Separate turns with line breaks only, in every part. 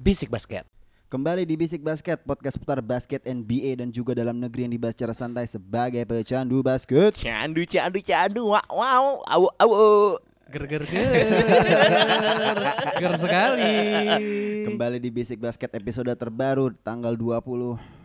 Bisik Basket.
Kembali di Bisik Basket, podcast putar basket NBA dan juga dalam negeri yang dibahas secara santai sebagai pecandu basket.
Iya.
Candu, candu, candu, wow, wow, awu, awu.
Ger ger ger. ger sekali.
Kembali di Bisik Basket episode terbaru tanggal 20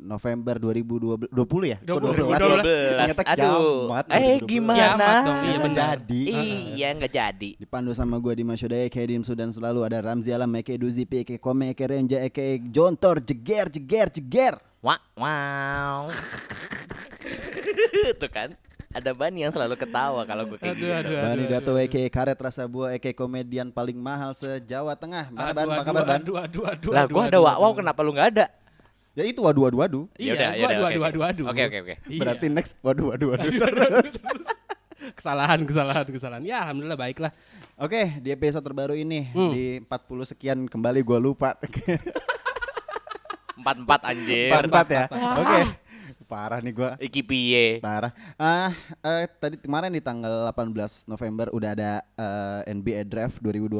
November 2020 20 ya? Kok
20?
12.
Ternyata
Aduh.
kiamat,
Eh,
2020.
gimana?
Kiamat dong, iya
Ternyata
benar.
jadi.
Iya, nggak jadi.
Dipandu sama gue Dimas Yudhaya, Kayak Dimsu dan selalu ada Ramzi Alam, Eke Duzi, Eke Kome, Eke Renja, Eke Jontor, Jeger, Jeger, Jeger.
Wow, wow. Tuh kan, ada Bani yang selalu ketawa kalau gue kayak
Aduh
gitu.
aduh aduh.
Bani Dato
aduh,
Eke Karet Rasa Buah Eke Komedian paling mahal se-Jawa Tengah. Mana
aduh.
Ban? Apa
Aduh,
kabar Ban?
Aduh aduh aduh.
Lah,
aduh,
gue ada
aduh,
wow, wow,
aduh.
kenapa lu nggak ada?
Ya itu waduh waduh waduh.
Iya,
Yaudah, yaudah, oke,
gua aduh aduh
oke.
aduh aduh.
Oke, oke, oke.
Iya.
Berarti next waduh waduh waduh.
Aduh, aduh, aduh, terus. Kesalahan kesalahan kesalahan. Ya alhamdulillah baiklah.
Oke, di episode terbaru ini di 40 sekian kembali gua lupa.
Empat-empat anjir.
44 ya. Oke. Parah nih gua.
Iki piye.
Parah. Ah, eh, tadi kemarin di tanggal 18 November udah ada eh, NBA Draft 2020.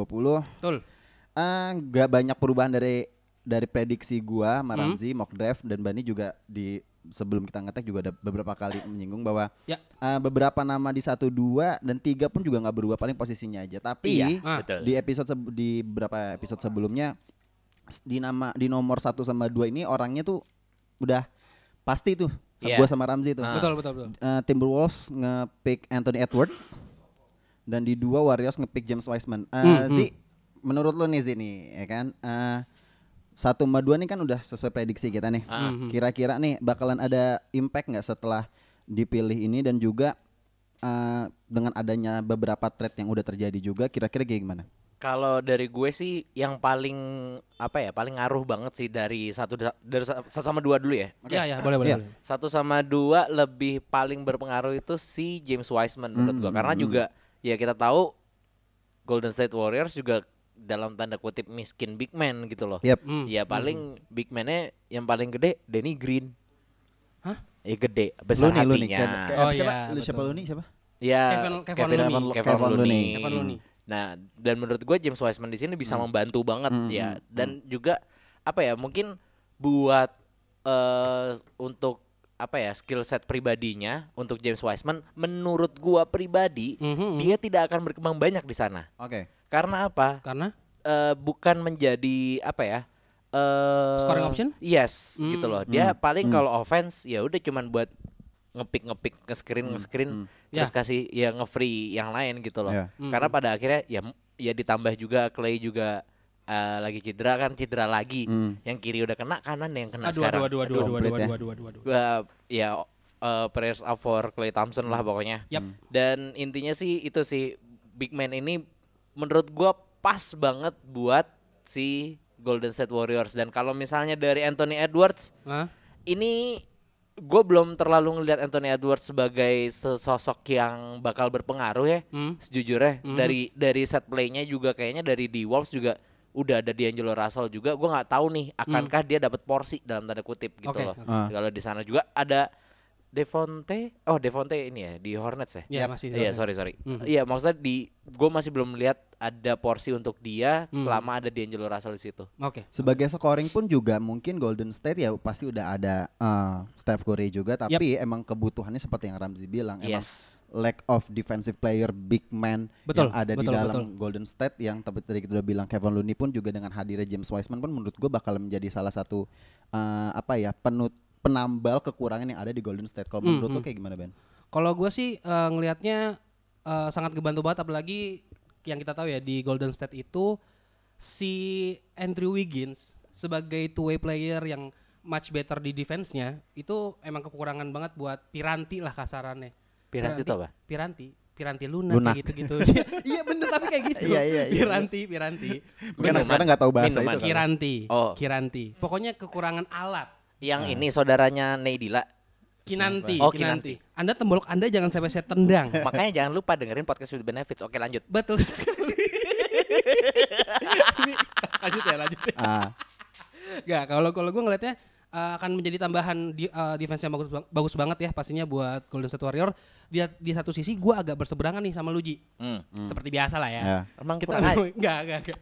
Betul.
Ah, nggak banyak perubahan dari dari prediksi gua, Maramzi, mock draft dan Bani juga di sebelum kita ngetek juga ada beberapa kali menyinggung bahwa
Ya.
ah, beberapa nama di satu dua dan tiga pun juga nggak berubah paling posisinya aja. Tapi
Ah.
Betul.
di episode seb- di beberapa episode sebelumnya s- di nama di nomor satu sama dua ini orangnya tuh udah pasti tuh sama
Iya.
gua sama Ramzi tuh.
Ah. Betul betul betul.
Eh, Timberwolves ngepick Anthony Edwards dan di dua Warriors ngepick James Wiseman. Eh,
Hmm,
Zi, menurut lo nih Zi nih, ya kan? Eh, satu sama dua nih kan udah sesuai prediksi kita nih.
Ah.
Hmm.
Kira-kira nih bakalan ada impact nggak setelah dipilih ini dan juga eh, dengan adanya beberapa trade yang udah terjadi juga, kira-kira kayak gimana?
Kalau dari gue sih yang paling apa ya paling ngaruh banget sih dari satu dari sa- satu sama dua dulu ya.
Ya ya boleh boleh.
Iya.
boleh.
Satu sama dua lebih paling berpengaruh itu si James Wiseman menurut gue karena juga ya kita tahu Golden State Warriors juga dalam tanda kutip miskin big man gitu loh.
Yep.
Hmm.
Ya paling big man-nya yang paling gede Danny Green.
Hah?
Ya gede besar
Looney, Looney.
hatinya.
Kayak- kayak
Oh
siapa?
iya,
Lu siapa
betul.
Luni siapa?
Ya
Kevin- Kevin
Looney.
Kevin
Kevin Looney.
Looney.
Kevin Looney.
Nah, dan menurut gue James Wiseman di sini bisa membantu banget ya. Dan juga apa ya, mungkin buat eh untuk apa ya skill set pribadinya untuk James Wiseman, menurut gua pribadi
Mhm.
dia tidak akan berkembang banyak di sana.
Oke.
Karena apa?
Karena
Eh, bukan menjadi apa ya? eh
Scoring option?
Yes,
Hmm.
gitu loh. Dia paling kalau offense ya udah cuman buat ngepick ngepick nge screen nge screen terus
Ya. Hmm,
kasih ya nge free yang lain gitu loh.
Ya.
Karena pada akhirnya ya m- ya ditambah juga Clay juga eh, lagi cedera kan cedera lagi. Yang kiri udah kena kanan yang kena Nah,
aduh
sekarang.
aduh aduh aduh aduh
Komplit
aduh
ya.
aduh aduh aduh aduh.
Gua, ya eh, prayers up for Clay Thompson lah pokoknya.
Yap.
Dan intinya sih itu sih big man ini menurut gua pas banget buat si Golden State Warriors dan kalau misalnya dari Anthony Edwards
Hah?
ini gue belum terlalu ngelihat Anthony Edwards sebagai sesosok yang bakal berpengaruh ya
Hmm.
sejujurnya dari dari set playnya juga kayaknya dari di Wolves juga udah ada D'Angelo Russell juga gue nggak tahu nih akankah dia dapat porsi dalam tanda kutip gitu
Oke,
loh
oke.
Hmm. Ah.
kalau di sana juga ada Devonte oh Devonte ini ya di Hornets ya
Iya, masih di
iya
Hornets.
sorry sorry
Hmm.
Mhm.
iya maksudnya di gue masih belum melihat ada porsi untuk dia
Hmm.
selama ada D'Angelo Russell di situ
Oke.
Sebagai scoring pun juga mungkin Golden State ya pasti udah ada eh, Steph Curry juga tapi emang kebutuhannya seperti yang Ramzi bilang emang
yes
lack of defensive player big man
Betul,
yang ada
betul,
di dalam
betul.
Golden State yang tapi tadi kita udah bilang Kevin Looney pun juga dengan hadirnya James Wiseman pun menurut gue bakal menjadi salah satu eh, apa ya penut penambal kekurangan yang ada di Golden State. Kalau menurut lo kayak gimana Ben?
Kalau gue sih eh, ngelihatnya eh, sangat kebantu banget apalagi yang kita tahu ya di Golden State itu si Andrew Wiggins sebagai two way player yang much better di defense-nya itu emang kekurangan banget buat Piranti lah kasarannya.
Piranti tuh Gitu apa?
Piranti, Piranti Luna,
Luna.
kayak gitu-gitu. iya bener tapi kayak gitu.
Iya, iya, iya.
Piranti, Piranti.
Mungkin anak
Minuman.
sekarang nggak tahu bahasa
Minuman.
itu. Kan?
Kiranti,
gitu Oh.
Kiranti. Pokoknya kekurangan alat.
yang
Ah.
ini saudaranya Neidila
Kinanti,
Oh,
Kinanti. Anda tembolok Anda jangan sampai saya tendang.
Makanya jangan lupa dengerin podcast with benefits. Oke lanjut.
Betul sekali. Ini- lanjut ya, lanjut ya.
Ah,
Gak, kalau kalau gue ngelihatnya eh, akan menjadi tambahan di, eh, defense yang bagus bang- bagus banget ya pastinya buat Golden State Warrior. Di, di satu sisi gue agak berseberangan nih sama Luji.
Hmm.
Seperti biasa lah ya.
Ya.
Emang
Kita
kurang aja.
enggak enggak enggak.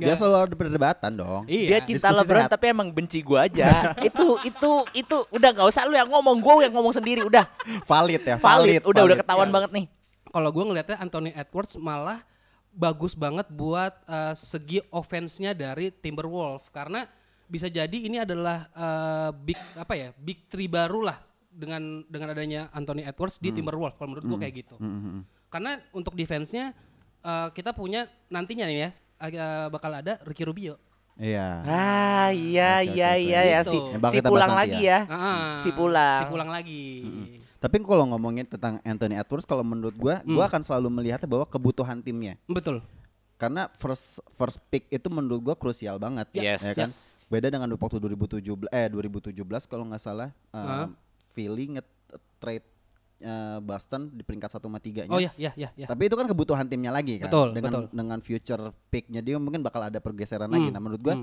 Dia selalu ada perdebatan dong.
Iya.
Dia cinta
diskusi
LeBron
sehat.
tapi emang benci gua aja. Nah, itu itu itu udah nggak usah lu yang ngomong, gua yang ngomong sendiri udah.
Valid
Valid,
ya, valid.
udah udah
valid.
ketahuan
Ya.
banget nih.
kalau gue ngelihatnya Anthony Edwards malah bagus banget buat eh, segi offense-nya dari Timberwolves karena bisa jadi ini adalah eh, big apa ya big three baru lah dengan dengan adanya Anthony
Hmm.
Edwards di Timberwolves kalau menurut gue kayak gitu karena untuk defense-nya eh, kita punya nantinya nih ya eh, bakal ada Ricky Rubio
Iya.
Ah iya
Oke,
iya iya
oke, oke.
ya
Gitu.
si,
Yang
bakal
si
kita bahas
pulang
nanti
lagi
ya.
ya.
Ah,
Si pulang.
si pulang lagi
Hmm,
Tapi kalau ngomongin tentang Anthony Edwards kalau menurut gua, gua akan selalu melihatnya bahwa kebutuhan timnya.
betul
Karena first first pick itu menurut gua krusial banget.
Yes.
Ya kan?
Yes.
Beda dengan waktu 2017 eh 2017 kalau nggak salah
Hah?
um, Philly nge-trade uh, Boston di peringkat 1 sama 3
oh ya ya ya ya
Tapi itu kan kebutuhan timnya lagi kan.
Betul,
dengan
betul. Hmm.
dengan future picknya dia mungkin bakal ada pergeseran lagi. Nah, menurut gua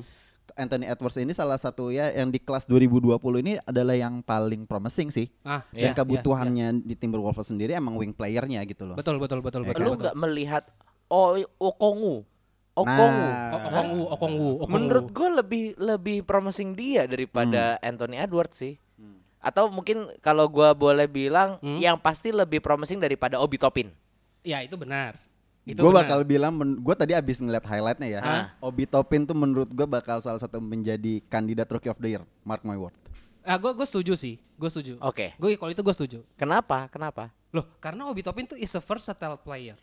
Anthony Edwards ini salah satu ya yang di kelas 2020 ini adalah yang paling promising sih.
ah
Dan
ya, ya,
kebutuhannya di Timberwolves sendiri emang wing playernya gitu
ya.
loh.
betul betul betul betul,
Eh, Lu
betul.
nggak melihat oh Okongu.
Oh,
Okongu.
Nah.
O- Okongwu, Okongwu, Okongwu.
Menurut gue lebih lebih promising dia daripada Anthony Edwards sih. Atau mungkin kalau gua boleh bilang
Hmm.
yang pasti lebih promising daripada Obi Topin.
Ya itu benar. Itu
Gue
benar. Ah.
bakal bilang, men- gue tadi abis ngeliat highlightnya ya,
Hah?
Obi Topin tuh menurut gue bakal salah satu menjadi kandidat Rookie of the Year, mark my word.
Ah, gue setuju sih, gue setuju.
Oke.
Gue kalau itu gue setuju.
Kenapa? Kenapa?
Loh, karena Obi Topin tuh is a versatile player.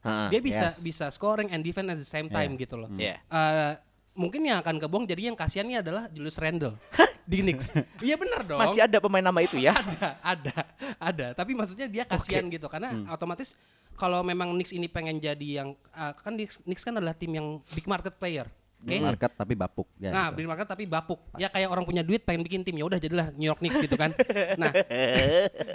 Heeh.
Dia bisa
yes.
bisa scoring and defense at the same time gitu loh.
Iya.
Eh, mungkin yang akan kebong jadi yang kasihannya adalah Julius Randle di Knicks. Iya benar dong.
Masih ada pemain nama itu ya?
ada, ada, ada. Tapi maksudnya dia kasihan gitu karena
Mm.
otomatis kalau memang Knicks ini pengen jadi yang eh, kan Knicks, Knicks kan adalah tim yang big market player. Oke.
Market tapi bapuk. Ya,
nah,
gitu.
beli makan tapi bapuk. Ya kayak orang punya duit pengen bikin tim ya udah jadilah New York Knicks gitu kan. Nah,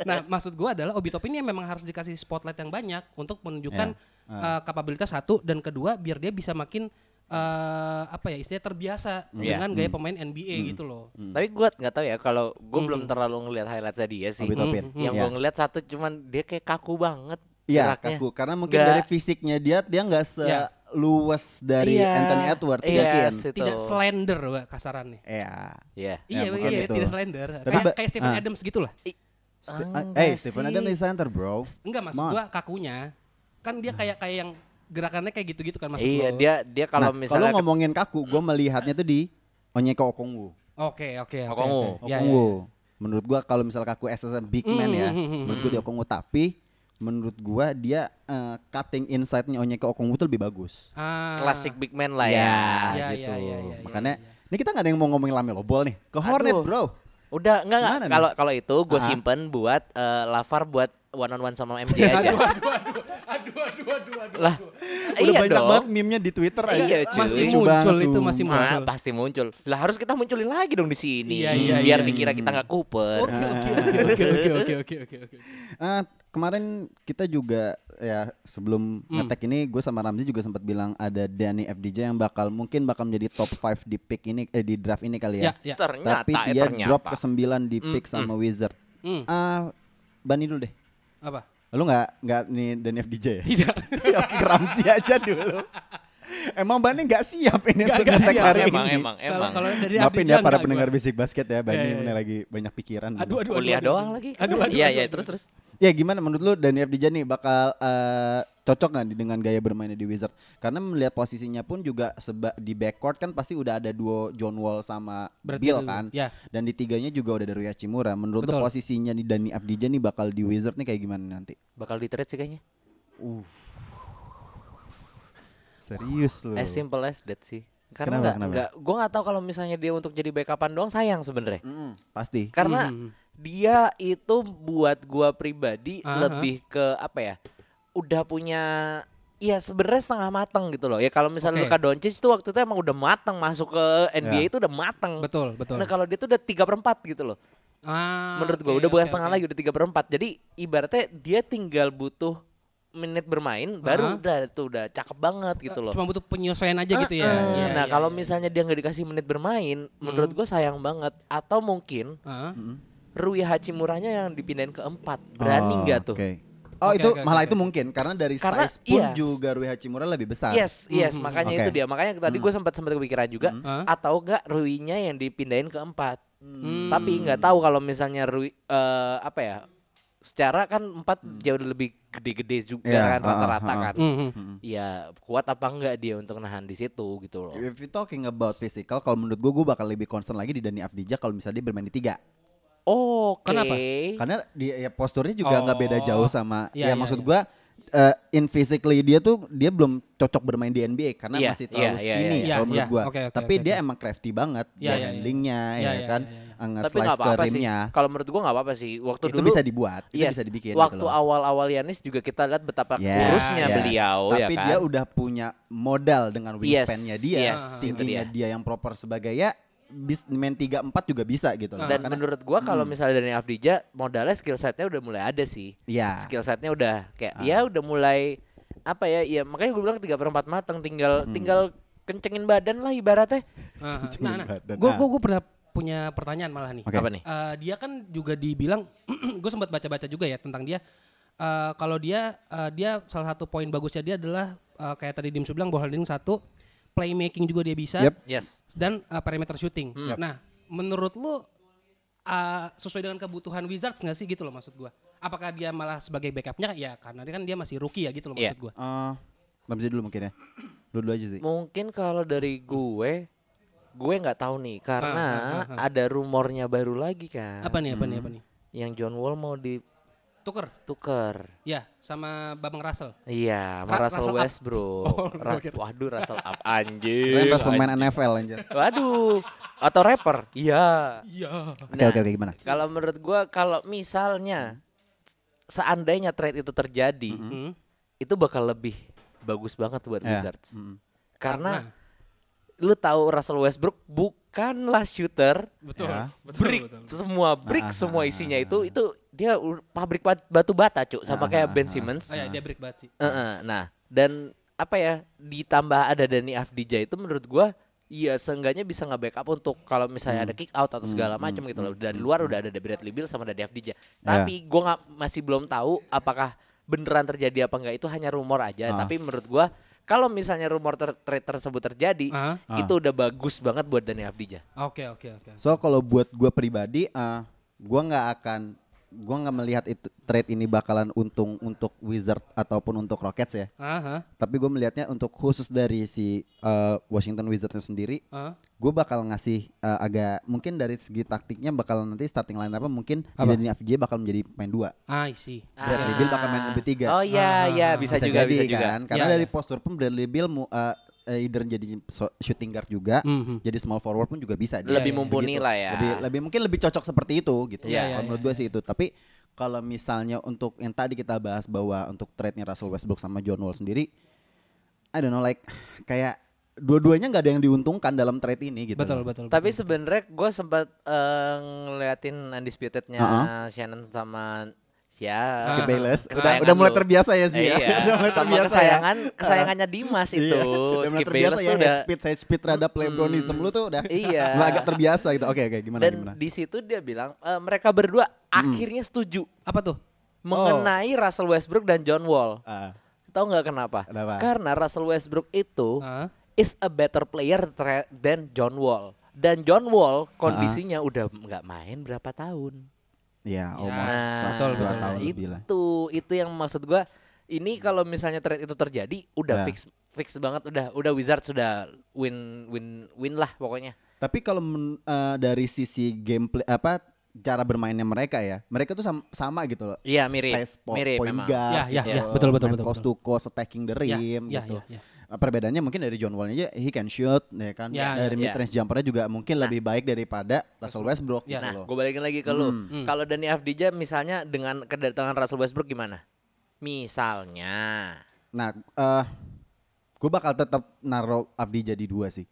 nah maksud gua adalah Obi Topin ini memang harus dikasih spotlight yang banyak untuk
Ya,
menunjukkan
ah.
eh, kapabilitas satu dan kedua biar dia bisa makin eh, apa ya istilahnya terbiasa
Hmm.
Iya.
Ya,
dengan gaya pemain NBA gitu loh.
Tapi gue nggak tahu ya kalau gue belum terlalu ngelihat highlightnya dia sih.
Obi Topin.
Mm. Yang
Iya.
gue ngelihat satu cuman dia kayak kaku banget.
Iya,
geraknya.
kaku. Karena mungkin
Nggak-
dari fisiknya dia, dia nggak
Iya.
seluas dari
Iya.
Anthony Edwards,
Iya,
yakin.
sih. Gitu.
Tidak slender Wak, kasarannya.
Iya.
Iya.
Ya,
Iya,
bukan
iya,
itu.
tidak slender.
Tapi
Kayak,
ba-
kayak Stephen
ah.
Adams gitulah.
Ste-
Ah,
eh,
nggak
Stephen
sih.
Adams di center, bro.
Enggak maksud
Come on. Hmm.
gua kakunya. Kan dia kayak kayak yang gerakannya kayak gitu-gitu kan maksud
Iya,
lo.
dia dia kalau
Nah,
misalnya
kalau ngomongin kaku, gue melihatnya tuh di Onyeka Okongwu.
Oke, oke, oke.
Okongwu.
oke. Ya, ya,
Okongwu. Menurut gua kalau misal kaku as a big man ya,
Mm, mm, mm,
menurut gua dia Okongwu tapi menurut gua dia eh, cutting inside-nya Onyeka Okongwu tuh lebih bagus.
Ah.
klasik big man lah
Ya,
ya.
Iya,
gitu.
iya, iya, iya,
Makanya
iya,
ini kita nggak ada yang mau ngomongin Lamelo Ball nih. Ke Hornet,
Aduh.
Bro.
Udah enggak enggak
Gimana nih?
kalau kalau itu gue
Ah.
simpen buat eh, Lavar buat one on one sama MJ
Iya,
aja.
aduh, aduh, aduh, aduh, aduh, aduh.
lah.
Udah
iya
banyak
dong.
banget meme-nya di Twitter aja.
Iya, cuy.
Masih
Lucu banget,
muncul itu
cuy.
masih
Ah,
muncul.
pasti muncul. Lah harus kita munculin lagi dong di sini.
Iya, iya,
biar
iya.
dikira kita nggak kuper.
Oke, oke, oke, oke, oke,
Iya.
oke, oke, oke, oke.
Eh, kemarin kita juga ya sebelum
Hmm.
ngetek ini gue sama Ramzi juga sempat bilang ada Danny FDJ yang bakal mungkin bakal menjadi top 5 di pick ini eh, di draft ini kali
Ya, ya.
ya.
Ternyata
Tapi
eh,
dia
ternyata.
drop ke 9 di pick sama Wizard.
Hmm.
Ah, Bani dulu deh.
Apa?
Lu nggak nggak nih Danny FDJ ya?
Tidak.
Ya, Oke, Ramzi aja dulu. Emang Bani nggak siap ini
Nggak-
untuk
nggak
ngetek
siap,
hari
emang,
ini.
emang,
Kalau
emang.
kalau dari
Maafin
Abidjan
ya para
nggak
pendengar
gua.
bisik basket ya,
Ya, ya,
Bani ini
ya.
lagi banyak pikiran. gitu.
Aduh, aduh,
Kuliah
aduh, aduh,
doang
aduh.
lagi.
Aduh, aduh.
Iya,
aduh,
iya,
aduh.
terus terus.
Ya gimana menurut lu Danny Abdija nih bakal eh, cocok nggak dengan gaya bermainnya di Wizard? Karena melihat posisinya pun juga seba di backcourt kan pasti udah ada duo John Wall sama
Berarti
Bill
dulu,
kan.
ya.
Dan di tiganya juga udah ada Rui Hachimura. Menurut lu
Betul.
posisinya di Danny Abdija nih bakal di Wizard nih kayak gimana nanti?
Bakal di trade sih kayaknya.
Serius lu.
As simple as that sih. Karena
Kenapa,
nggak
kenapa?
nggak gue nggak tahu kalau misalnya dia untuk jadi backupan doang sayang sebenarnya.
Mm, pasti.
Karena
Hmm.
dia itu buat gua pribadi
Aha.
lebih ke apa ya? Udah punya Iya sebenarnya setengah matang gitu loh. Ya kalau misalnya
Oke.
Luka Doncic itu waktu itu emang udah matang masuk ke
Ya.
NBA itu udah matang.
Betul, betul.
Nah kalau dia tuh udah 3 per 4 gitu loh.
Ah,
Menurut gua
oke,
udah bukan
oke,
setengah
oke.
lagi udah 3 per 4 Jadi ibaratnya dia tinggal butuh menit bermain
Ah.
baru udah tuh udah cakep banget gitu loh.
Cuma butuh penyesuaian aja gitu ya.
Eh,
Iya,
nah
iya,
kalau
iya.
misalnya dia nggak dikasih menit bermain,
Hmm.
menurut gue sayang banget. Atau mungkin
Ah.
Rui Hachimuranya yang dipindahin ke empat, berani
Oh,
nggak tuh?
oke.
Oke,
Oh itu
oke, oke,
malah
oke.
itu mungkin karena dari
Karena,
size pun
iya.
juga Rui Hachimura lebih besar.
Yes, yes, makanya
Hmm, Oke. Hmm.
itu dia. Makanya tadi gue sempat sempat kepikiran juga
Hah?
atau enggak Rui-nya yang dipindahin ke empat.
Hmm.
Hmm.
Tapi nggak tahu kalau misalnya Rui eh, apa ya? Secara kan empat jauh lebih gede-gede juga
Hmm. Iya,
kan
ah,
rata-rata
ah, ah.
kan.
Mhm.
Ya kuat apa enggak dia untuk nahan di situ gitu loh.
If you talking about physical, kalau menurut gue gue bakal lebih concern lagi di Dani Afdija kalau misalnya dia bermain di tiga.
Oke.
Kenapa?
Karena dia ya, posturnya juga nggak beda
Oh.
jauh sama
Iya, iya,
ya maksud
iya.
gua eh, in physically dia tuh dia belum cocok bermain di NBA karena
Iya,
masih
iya,
terlalu
iya,
skinny
iya.
kalau
Iya,
menurut
iya.
gua.
Oke, oke,
Tapi
oke,
dia
oke.
emang crafty banget
Iya,
yeah,
iya, iya.
handlingnya
Iya,
ya
iya,
kan,
iya, iya.
Tapi
nge-slice
nggak
ke
apa-apa sih.
rimnya.
Kalau menurut gua nggak apa-apa sih. Waktu
Itu
dulu
bisa dibuat, itu
Yes,
bisa dibikin gitu
Waktu
loh.
awal-awal Yanis juga kita lihat betapa
Yes,
kurusnya
yes.
beliau ya
Iya, Tapi
kan.
dia udah punya modal dengan
Yes,
wingspan-nya dia,
yes,
tingginya
itu
dia. yang proper sebagai ya bis, main 3 4 juga bisa gitu loh.
Dan
Karena- Hmm.
menurut gua kalau misalnya dari Afdija modalnya skill setnya udah mulai ada sih.
Iya.
Skill setnya udah kayak
Ah.
ya udah mulai apa ya? Ya makanya gue bilang tiga perempat matang tinggal
Hmm.
tinggal kencengin badan lah ibaratnya.
Ah,
Kencingin
Nah, nah,
badan.
gue
Ah.
gue pernah punya pertanyaan malah nih.
Oke.
Apa nih?
Eh, dia kan juga dibilang, gue sempat baca-baca juga ya tentang dia. Eh, kalau dia, eh, dia salah satu poin bagusnya dia adalah eh, kayak tadi Dimsu bilang ball handling satu, playmaking juga dia bisa,
Yep.
Yes.
dan eh, perimeter shooting. Nah, menurut lu eh, sesuai dengan kebutuhan Wizards nggak sih gitu loh maksud gue? Apakah dia malah sebagai backupnya? Ya karena dia kan dia masih rookie ya gitu loh
Iya.
maksud gue.
Eh, Bang Zee dulu mungkin ya. Dulu dulu aja sih.
Mungkin kalau dari gue gue nggak tahu nih karena
Ah, ah, ah,
ada rumornya baru lagi kan.
Apa nih? Apa nih? Apa nih?
Yang John Wall mau
Tuker,
ditukar.
ya sama Babang Russell.
Iya, sama
Ra-
Russell
Russell up.
Westbrook.
Oh,
Ra-
gua kira.
waduh, Russell up Iya, anjing.
Keren pas pemain NFL anjir.
Waduh, atau rapper? Iya. Nah,
Iya.
Oke oke oke gimana?
Kalau menurut gua kalau misalnya seandainya trade itu terjadi,
Hmm.
itu bakal lebih bagus banget buat
Mm-hmm. Iya.
Wizards. Karena
Nah,
lu tahu Russell Westbrook bukanlah shooter.
Betul.
Ya.
Betul.
brick
betul.
semua brick
Ah,
semua isinya itu itu dia u- pabrik bat- batu bata, Cuk,
Ah,
sama kayak Ben Simmons.
Oh ya, dia break banget sih.
Heeh, nah, dan apa ya ditambah ada Dani Afdija itu menurut gua Iya, seenggaknya bisa nge-backup untuk kalau misalnya
Hmm.
ada kick out atau segala macam gitu loh. Dari luar udah ada Bradley Beal sama Dani
Ya.
Afdija. Tapi gua nggak masih belum tahu apakah beneran terjadi apa enggak itu hanya rumor aja.
Ah.
Tapi menurut gua kalau misalnya rumor ter- trade tersebut terjadi,
Ah.
itu udah bagus banget buat Dani Afdija.
Oke, oke, oke. Ah,
So kalau buat gua pribadi, eh gua nggak akan, gua nggak melihat itu trade ini bakalan untung untuk Wizard ataupun untuk Rockets ya.
Aha.
Tapi gue melihatnya untuk khusus dari si eh, Washington Wizards sendiri,
Ah.
gue bakal ngasih eh, agak mungkin dari segi taktiknya bakal nanti starting line apa mungkin
Apa?
Dani FJ bakal menjadi main dua.
Ah, I see.
Bradley Beal bakal main lebih tiga.
Ah.
Ah.
Oh iya, iya bisa, juga
jadi
bisa juga.
kan karena
Iya,
dari
iya.
postur pun Bradley Beal mu, eh, eh, either jadi so- shooting guard juga,
Mhm.
jadi small forward pun juga bisa. dia.
Lebih
Begitu.
mumpuni lah ya.
Lebih, lebih mungkin lebih cocok seperti itu gitu.
Iya,
Kalau
iya,
menurut gue sih itu. Tapi kalau misalnya untuk yang tadi kita bahas bahwa untuk trade-nya Russell Westbrook sama John Wall sendiri, I don't know like kayak dua-duanya nggak ada yang diuntungkan dalam trade ini gitu.
Betul,
loh.
betul.
Tapi sebenarnya gue sempat eh, ngeliatin undisputednya
Uh-uh.
Shannon sama ya
Ah,
Skip Bayless. Udah,
kesayangan
udah mulai
lu.
terbiasa ya sih.
Iya,
ya. udah mulai
sama
terbiasa ya.
kesayangan kesayangannya Dimas
Iya,
itu.
udah mulai
Skip
terbiasa
Bayless tuh
ya head
udah
speed head speed terhadap Lebronism lu tuh udah
Iya.
udah agak terbiasa gitu. Oke oke gimana
dan
gimana. Hmm.
di situ dia bilang eh, mereka berdua akhirnya
Oh.
setuju
apa tuh?
mengenai Russell Westbrook dan John Wall.
Ah,
Tahu nggak kenapa?
Kenapa?
Karena Russell Westbrook itu
Ah.
is a better player tra- than John Wall. Dan John Wall kondisinya udah nggak main berapa tahun.
Iya, almost
Nah,
satu,
betul,
dua
betul.
tahun
itu
lebih lah.
itu yang maksud gua ini kalau misalnya trade itu terjadi
Ya.
udah fix fix banget udah udah wizard sudah win win win lah pokoknya
Tapi kalau men- eh, dari sisi gameplay apa cara bermainnya mereka ya, mereka tuh sama, sama gitu loh.
iya mirip
Space po-
mirip
point
memang
guard
Ya, ya,
gitu,
ya, betul, betul,
main
betul,
coast
betul.
to coast attacking the
Ya,
rim
ya,
gitu.
ya, ya.
Eh, Perbedaannya mungkin dari John Wall-nya aja he can shoot ya kan.
Ya,
dari
ya,
mid range jumpernya juga mungkin lebih baik daripada Russell Westbrook
Ya.
gitu
nah
loh. Hmm.
gue balikin lagi ke lu kalau Dani Avdija misalnya dengan kedatangan Russell Westbrook gimana misalnya
Nah, eh gue bakal tetap naro Abdi jadi dua sih.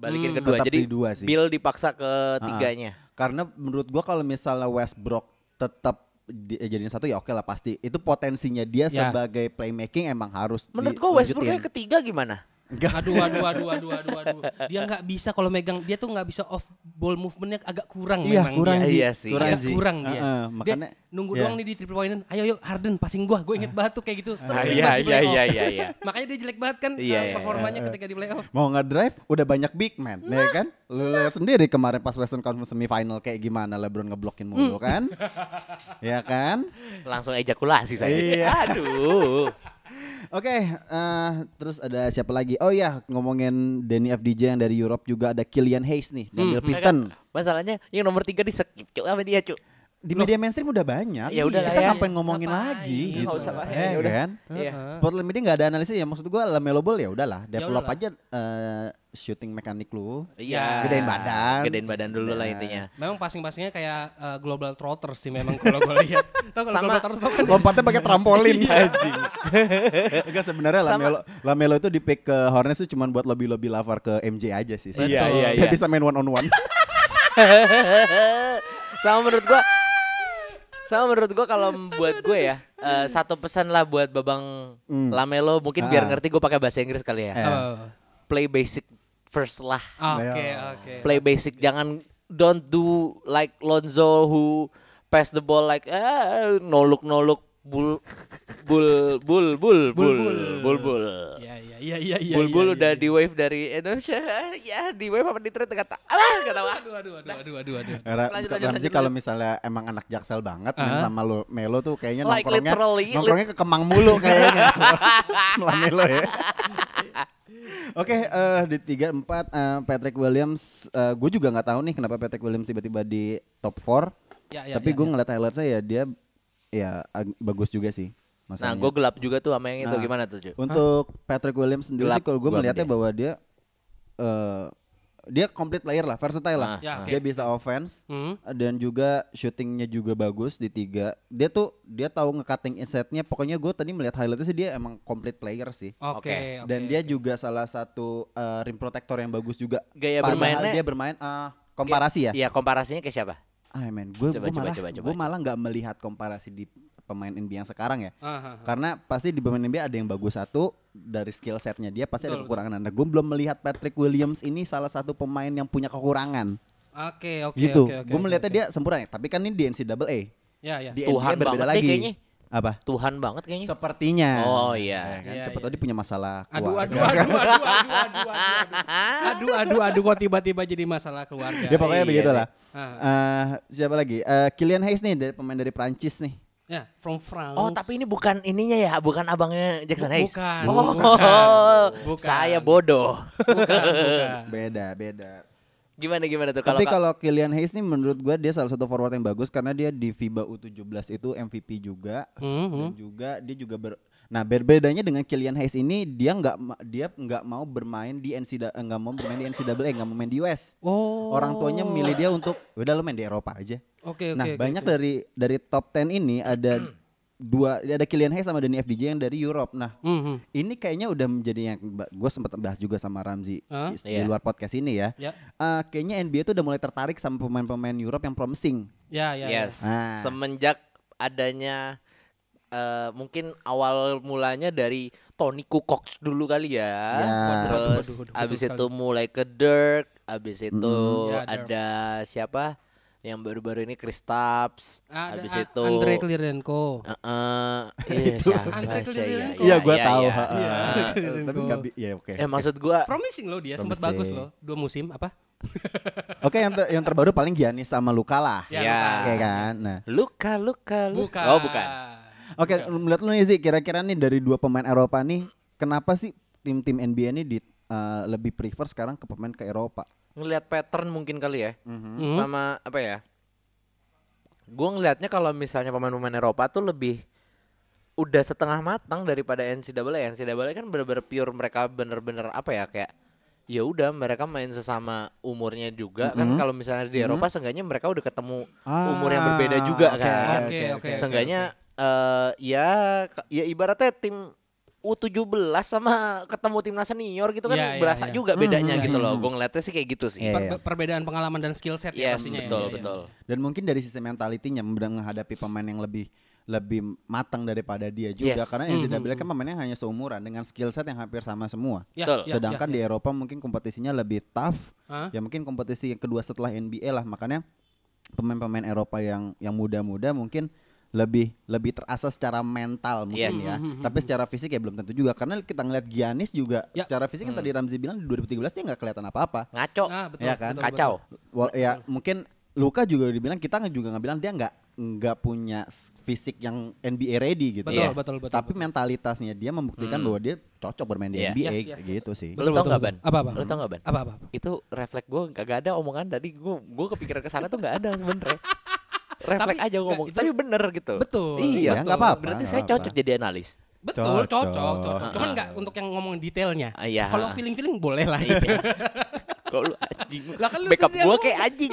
balikin
Hmm.
kedua
Tetap
jadi
di dua sih.
Bill dipaksa ke tiganya
Karena menurut gua kalau misalnya Westbrook tetap di- jadiin satu ya oke lah pasti. Itu potensinya dia
Ya.
sebagai playmaking emang harus
Menurut gua Westbrooknya ketiga gimana?
Enggak.
Aduh, aduh, aduh, aduh, aduh, aduh. Dia nggak bisa kalau megang, dia tuh nggak bisa off ball movementnya agak kurang
Iya,
memang
kurang
dia.
Ji.
Iya sih.
Kurang
Agak
Ji.
kurang dia.
Heeh,
Dia
makanya
nunggu
Iya.
doang nih di three pointan. Ayo yuk Harden passing gua. Gue inget banget tuh kayak gitu. Sering
Ah,
banget
iya, iya,
di playoff.
iya, iya, iya.
Makanya dia jelek banget kan
Iya,
eh,
iya,
performanya ketika di playoff.
mau nge-drive udah banyak big man, ya
Nah.
kan? Lu lihat sendiri kemarin pas Western Conference semifinal kayak gimana LeBron ngeblokin mulu
Hmm.
kan? ya kan?
Langsung ejakulasi saya.
Iya.
Aduh.
Oke, eh, terus ada siapa lagi? Oh ya, ngomongin Danny FDJ yang dari Europe juga ada Killian Hayes
Hmm,
nih,
ya
diambil
kan?
Piston.
Iya Masalahnya yang nomor tiga di skip cuk sama dia cuk.
Di media mainstream udah banyak.
Ya udah lah
kita
ya.
ngapain ngomongin
Ngapain? Nggak
lagi gitu.
usah lah, ya,
Eh,
ya udah.
kan?
Iya.
Spotlight media nggak ada analisis ya. Maksud gua LaMelo Ball ya udahlah, develop
udahlah.
aja eh, shooting mekanik lu.
Iya.
Gedein badan. Iya.
Gedein badan dulu lah intinya.
Memang passing-passingnya kayak eh, global trotters sih memang kalau gue lihat. Tahu kalau
Sama-
global trotters tau kan?
Lompatnya pakai trampolin anjing. Enggak sebenarnya
Iya. Sama-
LaMelo LaMelo itu di pick ke Hornets itu cuma buat lebih-lebih lavar ke MJ aja sih.
Iya, iya, iya.
Dia bisa main one on one.
sama menurut gua sama menurut gua kalau buat gue ya eh, satu pesan lah buat babang Lamelo mungkin biar
Ah.
ngerti gue pakai bahasa Inggris kali ya
Eh.
Oh,
play basic first lah
Oke, oke.
Iya. play basic jangan don't do like Lonzo who pass the ball like eh, no look no look bull bull bull bull bull bull bull
Iya, iya, iya, iya, iya.
Bulbul
iya,
udah
iya.
di wave dari Indonesia ya di wave apa di trade kata ah kata aku
Aduh, aduh, aduh, aduh, aduh, aduh.
Ra-
Lanjut, lanjut,
Ramzi
lanjut,
kalau misalnya emang anak jaksel banget main sama lo Melo tuh kayaknya
Like
nongkrongnya
literally, lit-
nongkrongnya ke Kemang mulu kayaknya. Lah Melo ya. Oke eh, di tiga empat eh, Patrick Williams gue juga nggak tahu nih kenapa Patrick Williams tiba-tiba di top 4
Ya, ya,
Tapi
ya,
gue ngeliat highlight saya ya dia ya ag- bagus juga sih.
Nah,
Masalahnya.
gue gelap juga tuh sama yang itu
Nah,
gimana tuh, Ju?
Untuk Patrick Williams sendiri
Gelap
sih kalau gue
gua sama
melihatnya
dia.
bahwa dia eh, dia complete player lah, versatile
Ah,
lah.
Ya, oke.
Dia bisa offense
Hmm.
dan juga shootingnya juga bagus di tiga. Dia tuh dia tahu nge-cutting insetnya. Pokoknya gue tadi melihat highlightnya sih dia emang complete player sih.
Oke, oke.
Dan dia juga salah satu eh, rim protector yang bagus juga.
Gaya
Padahal
bermainnya-
dia bermain ah, komparasi ya.
Iya, komparasinya ke siapa?
Ah men, gue
Coba, coba,
malah
coba, coba,
gue malah nggak melihat komparasi di pemain NBA yang sekarang ya.
Aha.
Karena pasti di pemain NBA ada yang bagus satu dari skill setnya dia pasti ada
Betul,
kekurangan. Nah, gue belum melihat Patrick Williams ini salah satu pemain yang punya kekurangan
Oke, oke,
gitu.
oke, oke,
gue
oke,
melihatnya
oke.
dia sempurna. ya. Tapi kan ini di NCAA.
Ya, ya.
Di
Tuhan
NBA berbeda
banget deh
lagi.
kayaknya.
Apa?
Tuhan banget kayaknya.
Sepertinya.
Oh, iya.
Ya kan?
Iya,
Siapa
iya,
tahu dia punya masalah
Aduh,
keluarga.
aduh, aduh, aduh, aduh, aduh, aduh, aduh, aduh, aduh, aduh, kok tiba-tiba jadi masalah keluarga.
Dia pokoknya
Iya,
begitu
deh.
lah.
Ah,
Eh, siapa lagi? Eh, Kylian Hayes nih dari pemain dari Prancis nih.
Ya, from France.
Oh, tapi ini bukan ininya ya, bukan abangnya Jackson
Bu-
Hayes.
bukan,
Oh,
bukan, bukan.
Saya bodoh.
bukan, bukan.
Beda, beda.
gimana gimana tuh kalau
Tapi kalau Kylian Hayes nih menurut gua dia salah satu forward yang bagus karena dia di FIBA U17 itu MVP juga
Hmm,
dan juga dia juga ber Nah, berbedanya dengan Kylian Hayes ini dia nggak ma- dia nggak mau bermain di NCAA eh, nggak mau bermain di NCAA nggak mau main di US.
Oh.
Orang tuanya memilih dia untuk "Ya udah lu main di Eropa aja.
Oke, oke,
Nah,
oke,
banyak
oke.
dari dari top 10 ini ada dua ada Kylian Hayes sama Danny FDJ yang dari Europe. Nah,
Mhm.
ini kayaknya udah menjadi yang gue sempat bahas juga sama Ramzi
Hah?
di, di
Iya.
luar podcast ini ya.
Ya.
Eh, kayaknya NBA itu udah mulai tertarik sama pemain-pemain Europe yang promising.
Ya, ya, ya.
Yes.
Ah.
Semenjak adanya eh, mungkin awal mulanya dari Tony Kukoc dulu kali ya.
Ya.
Terus
Waduh, waduh, waduh,
abis
betul
itu mulai ke Dirk, abis itu
Ya, Dirk.
ada siapa? Yang baru-baru ini Kristaps,
Ada
abis
A-
itu
Andre Klirenko.
Eh, eh, iya, siapa
Andre
sih?
Kirilenko.
Iya, gua
iya,
tahu.
iya.
ha,
Iya.
ha.
Keren
Eh, Tapi
gua.
nggak bi- ya oke.
Eh maksud gua
Promising loh dia, sempat
Promising.
bagus loh. Dua musim apa?
Oke, yang ter- yang terbaru paling Giannis sama Luka lah.
Ya.
Ya, lupa.
Oke kan. Nah,
Luka, Luka, Luka.
Bukan.
Oh, bukan.
oke
Iya.
menurut lu nih sih kira-kira nih dari dua pemain Eropa nih kenapa sih tim-tim NBA ini di eh, lebih prefer sekarang ke pemain ke Eropa?
Ngelihat pattern mungkin kali ya.
Hmm.
Sama apa ya? Gua ngelihatnya kalau misalnya pemain-pemain Eropa tuh lebih udah setengah matang daripada NCAA. NCAA kan bener-bener pure mereka bener-bener apa ya kayak ya udah mereka main sesama umurnya juga
Hmm.
kan kalau misalnya di Eropa seenggaknya mereka udah ketemu
Ah,
umur yang berbeda juga
oke,
kan.
oke, oke, oke,
seenggaknya eh, ya ya ibaratnya tim U17 sama ketemu timnas senior gitu kan
Iya, iya,
berasa
iya.
juga bedanya gitu loh. Gue ngeliatnya sih kayak gitu sih.
Iya,
Per-
iya.
perbedaan pengalaman dan skill set ya
Yes,
pastinya ya,
betul,
iya, iya.
betul.
Dan mungkin dari sisi mentalitinya mem- menghadapi pemain yang lebih lebih matang daripada dia juga
Yes. Mm-hmm.
karena yang sudah bilang kan pemainnya hanya seumuran dengan skill set yang hampir sama semua.
Ya,
Betul.
ya,
Sedangkan
ya,
di Eropa mungkin kompetisinya lebih tough.
Hah?
Ya mungkin kompetisi yang kedua setelah NBA lah makanya pemain-pemain Eropa yang yang muda-muda mungkin lebih lebih terasa secara mental mungkin
Yes.
ya.
Hmm,
Tapi secara fisik ya belum tentu juga karena kita ngeliat Giannis juga
Ya.
secara fisik yang tadi Ramzi bilang di 2013 dia nggak kelihatan apa-apa.
Ngaco.
Ah, betul,
Iya kan?
betul,
Kacau.
Wal- ya mungkin Luka juga dibilang kita nge- juga nggak bilang dia nggak nggak punya s- fisik yang NBA ready gitu.
Betul,
ya.
betul, betul,
Tapi
betul. Hmm.
mentalitasnya dia membuktikan bahwa dia cocok bermain di
Iya.
NBA
Yes, yes, yes.
gitu sih.
Lu tau nggak ban?
Apa apa?
Lu tau nggak ban?
Apa apa? apa?
Itu refleks gue kagak ada omongan tadi. Gue gue kepikiran kesana tuh nggak ada sebenernya. refleks
Tapi
aja ngomong.
itu-
Tapi bener gitu.
Betul.
Iya,
Iya.
nggak apa-apa.
Berarti
nggak
saya
apa-apa.
cocok jadi analis.
Betul,
Cocok.
cocok, cocok. Cuman nggak untuk yang ngomong detailnya.
Ah, iya.
Kalau feeling-feeling boleh lah.
Kok lu anjing?
Iya. Lah kan lu
backup
sendiri
gue
ngomong.
kayak anjing.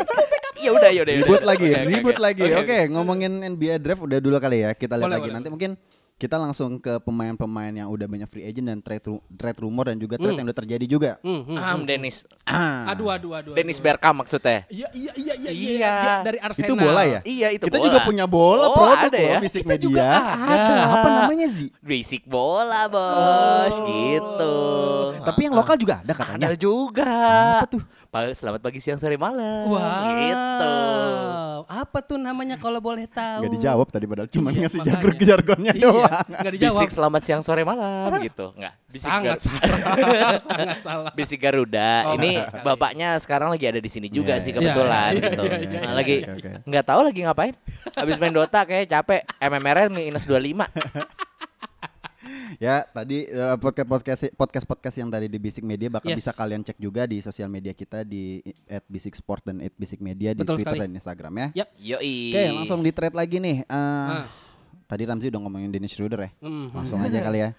Ya udah, ya udah. ya udah.
Ribut lagi,
Oke, oke,
ribut
oke.
lagi. ya.
Oke,
Oke, ngomongin NBA draft udah dulu kali ya. Kita lihat
Boleh,
lagi
boleh,
nanti mungkin kita langsung ke pemain-pemain yang udah banyak free agent dan trade ru- trade rumor dan juga trade yang udah terjadi juga.
Hmm, hmm.
Am Dennis.
Ah,
Aduh, aduh, aduh.
mm, Dennis
aduh.
Bergkamp maksudnya.
Iya, iya, iya, iya, iya.
Iya.
Dia dari Arsenal.
itu bola ya?
Iya, itu
Kita
bola.
juga punya bola
Oh,
produk
ada
loh,
ya?
Bisik
Kita
media.
juga ada.
Apa namanya Zi?
Basic bola,
Oh.
Bos. Gitu.
Tapi yang lokal juga ada katanya.
Ada juga.
Apa tuh?
Pa- Selamat pagi, siang, sore, malam.
Wow.
Gitu.
Apa tuh namanya kalau boleh tahu?
Gak dijawab tadi padahal cuman
Iya,
ngasih
makanya.
jargon jargonnya
Iya,
doang.
nggak dijawab.
Bisik selamat siang, sore, malam. Gitu. Enggak. Bisik
Sangat
Gar-
salah. Sangat salah.
Bisik Garuda.
Oh,
ini
benar sekali.
bapaknya sekarang lagi ada di sini juga
Iya,
sih
iya,
kebetulan
iya,
gitu.
iya,
iya,
Nah,
iya,
lagi
oke, oke.
nggak tahu lagi ngapain. Habis main Dota kayak capek. MMR-nya minus 25.
Ya, tadi eh, podcast podcast podcast podcast yang tadi di Bisik Media bakal
Yes.
bisa kalian cek juga di sosial media kita di @bisiksport dan @bisikmedia di
Betul
Twitter
sekali.
dan Instagram ya.
Yap.
Yoi.
Oke, langsung di trade lagi nih. Eh,
Ah.
Tadi Ramzi udah ngomongin Dennis Schroeder ya.
Hmm.
Langsung aja kali ya.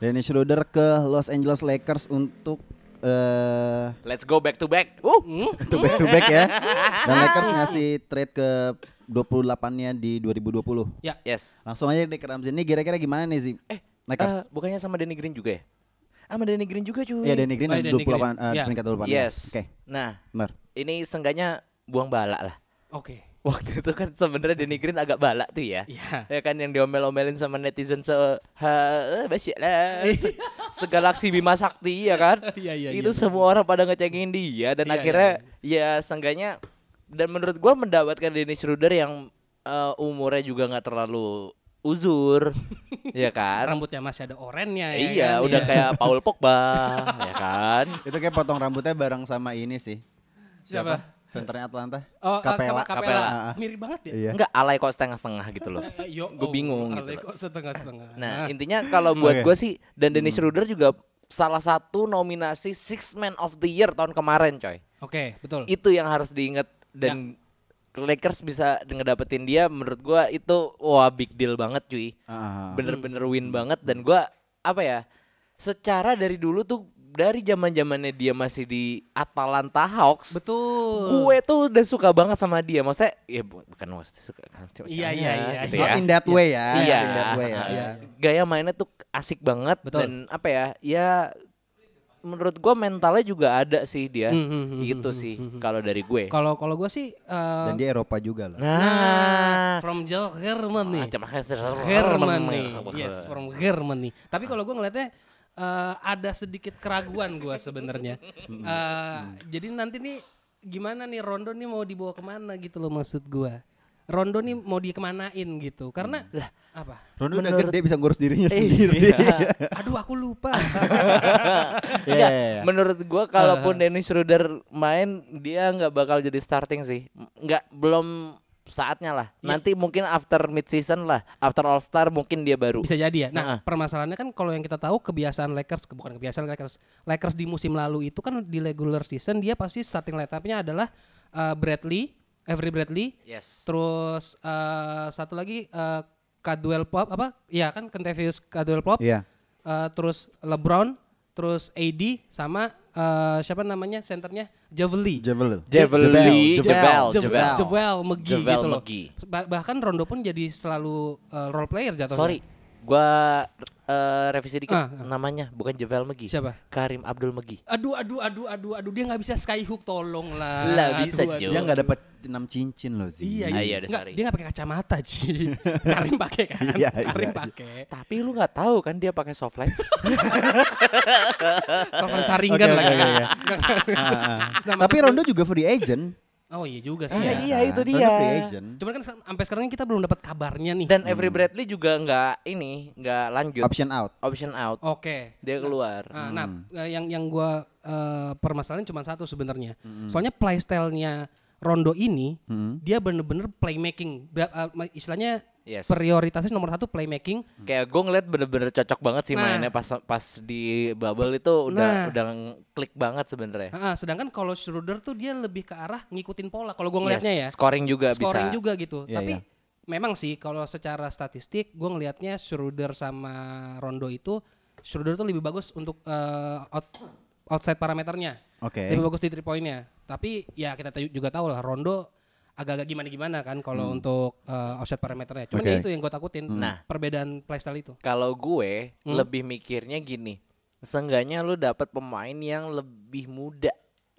Dennis Schroeder ke Los Angeles Lakers untuk eh
Let's go back to back. Uh.
to back to back ya. Dan Lakers ngasih trade ke 28-nya di 2020.
Ya.
Yes.
Langsung aja deh ke Ramzi. Ini kira-kira gimana nih sih?
Eh, eh,
Lakers.
bukannya sama Danny Green juga ya? Sama Danny Green juga cuy.
Iya, Danny Green
Oh,
yang
Danny Green.
28 eh,
Ya.
peringkat 28. ya.
Yes.
Oke.
Nah,
Benar.
ini sengganya buang bala lah.
Oke.
Waktu itu kan sebenarnya Danny Green agak bala tuh ya.
Iya.
Ya kan yang diomel-omelin sama netizen se ha, eh, basya lah, se- segalaksi Bima Sakti ya kan.
Iya, iya,
Itu
iya.
semua orang pada ngecengin dia dan
Iya,
akhirnya ya sengganya dan menurut gua mendapatkan Dennis Schroeder yang eh, umurnya juga nggak terlalu uzur ya kan.
Rambutnya masih ada orennya ya.
Iya,
kan?
udah
Iya.
kayak Paul Pogba, ya kan?
Itu kayak potong rambutnya bareng sama ini sih.
Siapa?
Senternya Atlanta.
Oh,
Capella.
Kapela. Kapela.
Capella.
Ah, ah.
Mirip banget ya.
Iya.
Enggak alay kok setengah-setengah gitu loh.
Eh, yo,
Gua
oh,
bingung
Ale
gitu
kok setengah-setengah.
Nah, intinya kalau buat
Oke.
gue sih dan Dennis
Hmm.
Schroeder juga salah satu nominasi Six Man of the Year tahun kemarin, coy.
Oke, betul.
Itu yang harus diingat dan
Ya.
Lakers bisa ngedapetin dia menurut gua itu wah big deal banget, cuy.
Ah, ah, ah.
Bener-bener win banget dan gua apa ya? Secara dari dulu tuh dari zaman-zamannya dia masih di Atalanta Hawks.
Betul.
Gue tuh udah suka banget sama dia. Maksudnya ya bu- bukan maksudnya suka.
Iya, iya, iya,
gitu
iya.
Not
ya
in that way ya.
iya.
Not in that way ya.
Heeh.
Iya.
Gaya mainnya tuh asik banget
Betul.
dan apa ya? Ya menurut gua mentalnya juga ada sih dia.
Hmm, hmm, hmm,
gitu sih kalau dari gue.
Kalau kalau gue sih eh, ah,
Dan di Eropa juga loh.
Nah,
from Germany.
macam Iya.
Germany. Oh, Yes, from Germany. Tapi kalau gue ngelihatnya eh, ada sedikit keraguan gue sebenarnya. Eh, jadi nanti nih gimana nih Rondo nih mau dibawa kemana gitu loh maksud gue. Rondo nih mau dikemanain gitu karena lah apa?
Rondo udah
Menurut-
gede bisa ngurus dirinya sendiri.
Aduh aku lupa.
Iya,
Nggak,
iya, iya.
Menurut gua kalaupun Dennis Schroeder main dia nggak bakal jadi starting sih. Nggak belum saatnya lah.
Iya.
Nanti mungkin after mid season lah, after All Star mungkin dia baru.
Bisa jadi ya.
Nah.
Nah, permasalahannya kan kalau yang kita tahu kebiasaan Lakers ke- bukan kebiasaan Lakers. Lakers di musim lalu itu kan di regular season dia pasti starting lineup-nya adalah eh, Bradley, Avery Bradley,
Yes.
terus eh, satu lagi eh, Caldwell Pop apa? Iya kan Kentavious Caldwell Pop.
Iya.
Eh, terus LeBron, terus AD sama eh, siapa namanya senternya Javeli.
Javel.
Javel. Javel.
Jevel,
Jevel.
Jevel McGee
Jevel
gitu loh.
McGee.
Ba- bahkan Rondo pun jadi selalu uh, role player jatuhnya.
Sorry, Gua eh, revisi dikit
Ah,
namanya bukan Javel Megi.
Siapa?
Karim Abdul Megi.
Aduh, aduh, aduh, aduh, aduh, dia nggak bisa skyhook, tolong lah.
Lah,
Aduh,
bisa,
aduh.
Jo.
Dia nggak dapat 6 cincin loh sih.
Iya,
Ah,
iya,
iya, udah,
Nggak,
sorry.
dia nggak pakai kacamata, Ji. Karim pakai kan?
Iya,
Karim
iya, iya.
pakai.
Tapi lu nggak tahu kan dia pakai soft lens.
Sopan
Oke,
saringan ya.
oke,
lagi.
oke, oke. Ah, ah. Tapi Ah, Rondo juga free agent.
Oh iya juga sih.
Iya,
ya.
iya, itu
Rondo
dia.
free agent.
Cuman kan sam- sampai sekarang kita belum dapat kabarnya nih.
Dan Avery Bradley juga nggak ini, nggak lanjut
Option out.
option out.
Oke.
Dia keluar.
Hmm.
Ah, Oh. Nah, eh, yang yang gua eh, permasalahan cuma satu sebenarnya.
Hmm.
Soalnya playstyle-nya Rondo ini dia bener-bener playmaking. Ba- eh, ma- istilahnya
Yes.
prioritasnya nomor satu playmaking.
Kayak gue ngeliat bener-bener cocok banget sih
Nah.
mainnya pas pas di bubble itu udah
Nah.
udah klik banget sebenarnya.
Ah, ah, sedangkan kalau Schroeder tuh dia lebih ke arah ngikutin pola. Kalau gua
Yes,
ngelihatnya ya.
Scoring juga
scoring
bisa.
juga gitu.
Iya,
Tapi
iya.
memang sih kalau secara statistik gue ngelihatnya Schroeder sama Rondo itu Schroeder tuh lebih bagus untuk eh, out- outside parameternya.
Oke.
Lebih bagus di three pointnya. Tapi ya kita tahu- juga tahu lah Rondo agak-agak gimana-gimana kan kalau untuk eh, outside parameternya. Cuman
Hmm. Oke. Hmm.
ya itu yang gue takutin.
Nah.
perbedaan playstyle itu.
Kalau gue
Hmm?
lebih mikirnya gini, seenggaknya lu dapat pemain yang lebih muda.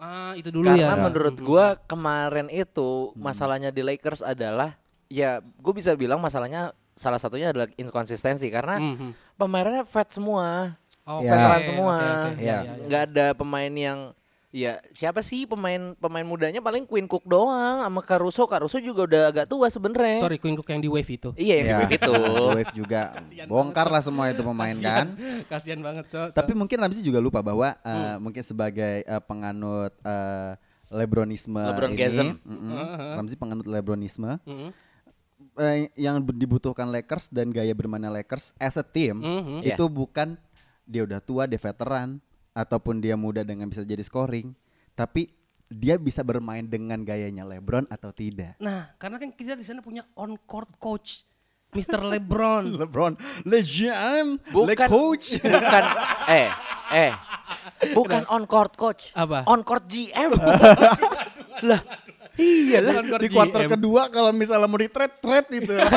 Ah, itu dulu ya.
Karena menurut
Hmm.
gue kemarin itu masalahnya di Lakers adalah ya gue bisa bilang masalahnya salah satunya adalah inkonsistensi karena
Mhm.
pemainnya fat semua,
Oh,
Ya.
veteran
oke,
semua.
oke, oke. Ya,
Ya.
ya, ya.
nggak ada pemain yang ya siapa sih pemain pemain mudanya paling Queen Cook doang sama Caruso Caruso juga udah agak tua sebenarnya
Sorry, Queen Cook yang di wave itu.
iya yang
Ya,
begitu
Wave juga. Bongkar lah semua itu pemain kan.
Kasihan banget, Cok.
Tapi mungkin Ramzi juga lupa bahwa eh,
Hmm.
mungkin sebagai eh, penganut eh, Lebronisme
Lebrongasm.
ini, mm-mm, Ramzi penganut Lebronisme. Eh, yang b- dibutuhkan Lakers dan gaya bermainnya Lakers as a team
Mhm.
itu bukan dia udah tua, dia veteran ataupun dia muda dengan bisa jadi scoring, tapi dia bisa bermain dengan gayanya LeBron atau tidak.
Nah, karena kan kita di sana punya on court coach Mr. LeBron.
LeBron, legend, le
bukan
coach.
bukan eh eh bukan on court coach
Apa?
on court GM lah iyalah
Bukan
Di
GM.
kuarter kedua kalau misalnya mau di trade trade gitu. itu.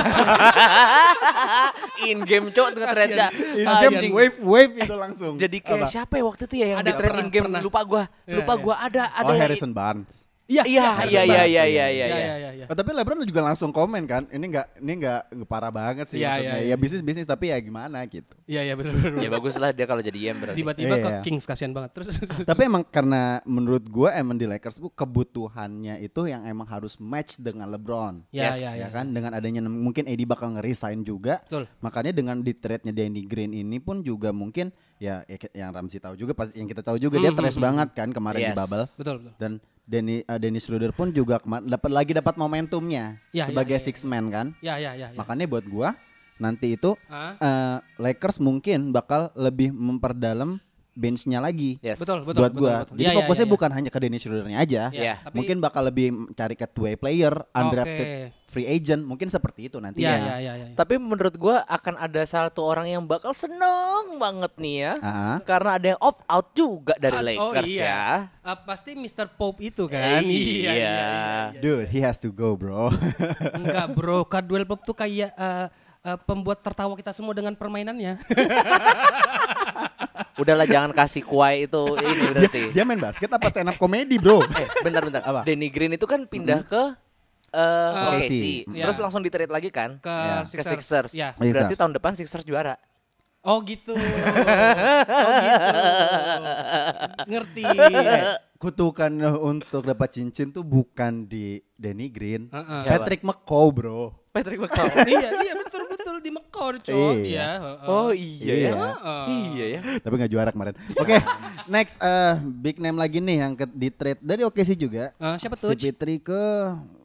in game cok dengan ternyata
Ini
anjing.
wave wave itu langsung.
jadi kayak siapa ya waktu itu ya yang
Ada,
di trade
pernah,
in game
pernah.
lupa gua
Iya,
lupa
iya.
gua ada ada
oh
yang-
Harrison Barnes.
iya iya iya iya iya iya
Ya,
iya.
ya, ya, ya.
Oh, tapi LeBron juga langsung komen kan, ini nggak ini nggak nggak parah banget sih
Iya,
maksudnya.
iya,
Ya bisnis bisnis tapi ya gimana gitu.
Iya, iya benar benar.
ya bagus lah dia kalau jadi GM berarti
Tiba-tiba
Iya,
ke
iya.
Kings kasihan banget. Terus iya,
tapi emang karena menurut gua emang di Lakers tuh kebutuhannya itu yang emang harus match dengan LeBron.
Ya,
Yes.
ya, ya.
ya kan dengan adanya nem- mungkin AD bakal ngeresign juga.
Betul.
Makanya dengan di trade-nya Danny Green ini pun juga mungkin ya ya ki- yang Ramsey tahu juga pasti yang kita tahu juga
Hmm,
dia trash banget kan kemarin di
Yes.
bubble.
Betul, betul.
Dan Denny eh, Dennis Schroeder pun juga kema- dapat lagi dapat momentumnya
Ya, ya,
sebagai
ya, ya.
six man kan.
Ya, ya, ya, ya.
Makanya buat gua nanti itu
Ah.
eh, Lakers mungkin bakal lebih memperdalam benchnya lagi.
Yes.
Betul, betul,
buat
betul,
gua.
betul.
Jadi
Ya, ya,
fokusnya
ya, ya.
bukan hanya ke Dennis Schroedernya aja.
Ya,
Iya, tapi-
Mungkin bakal lebih cari ke two way player, undrafted
Oke.
free agent, mungkin seperti itu nanti
Ya, ya,
ya.
ya, ya.
Tapi menurut gua akan ada satu orang yang bakal seneng banget nih ya.
Ah.
Karena ada yang opt out juga dari
Ah,
Lakers ya.
Ah, pasti Mr. Pope itu kan.
Eh, iya.
Dude, he has to go, bro.
Enggak, Bro. Caldwell Pope tuh kayak eh, eh, pembuat tertawa kita semua dengan permainannya. iya.
Udahlah jangan kasih kuai itu ini berarti.
Dia main basket apa stand up comedy, bro?
Eh, bentar bentar.
Apa? Mm-hmm.
Danny Green itu kan pindah ke
Ah,
eh OKC.
OKC.
Terus
Iya.
langsung di-trade lagi kan?
Ke
Ya.
Sixers. Ya.
Berarti
Sixers.
tahun depan Sixers juara.
Oh gitu. Oh gitu. Ngerti.
Eh,
iya.
kutukan untuk dapat cincin tuh bukan di Danny Green.
Heeh.
Patrick McCaw, bro.
Patrick McCall.
iya, iya betul betul di Mekor, Cok.
Iya.
Iya, heeh.
oh iya ya.
Heeh.
Iya ya.
Tapi nggak juara kemarin. Oke, next eh, big name lagi nih yang ke, di trade dari OKC juga.
Eh, siapa tuh?
Si Petri ke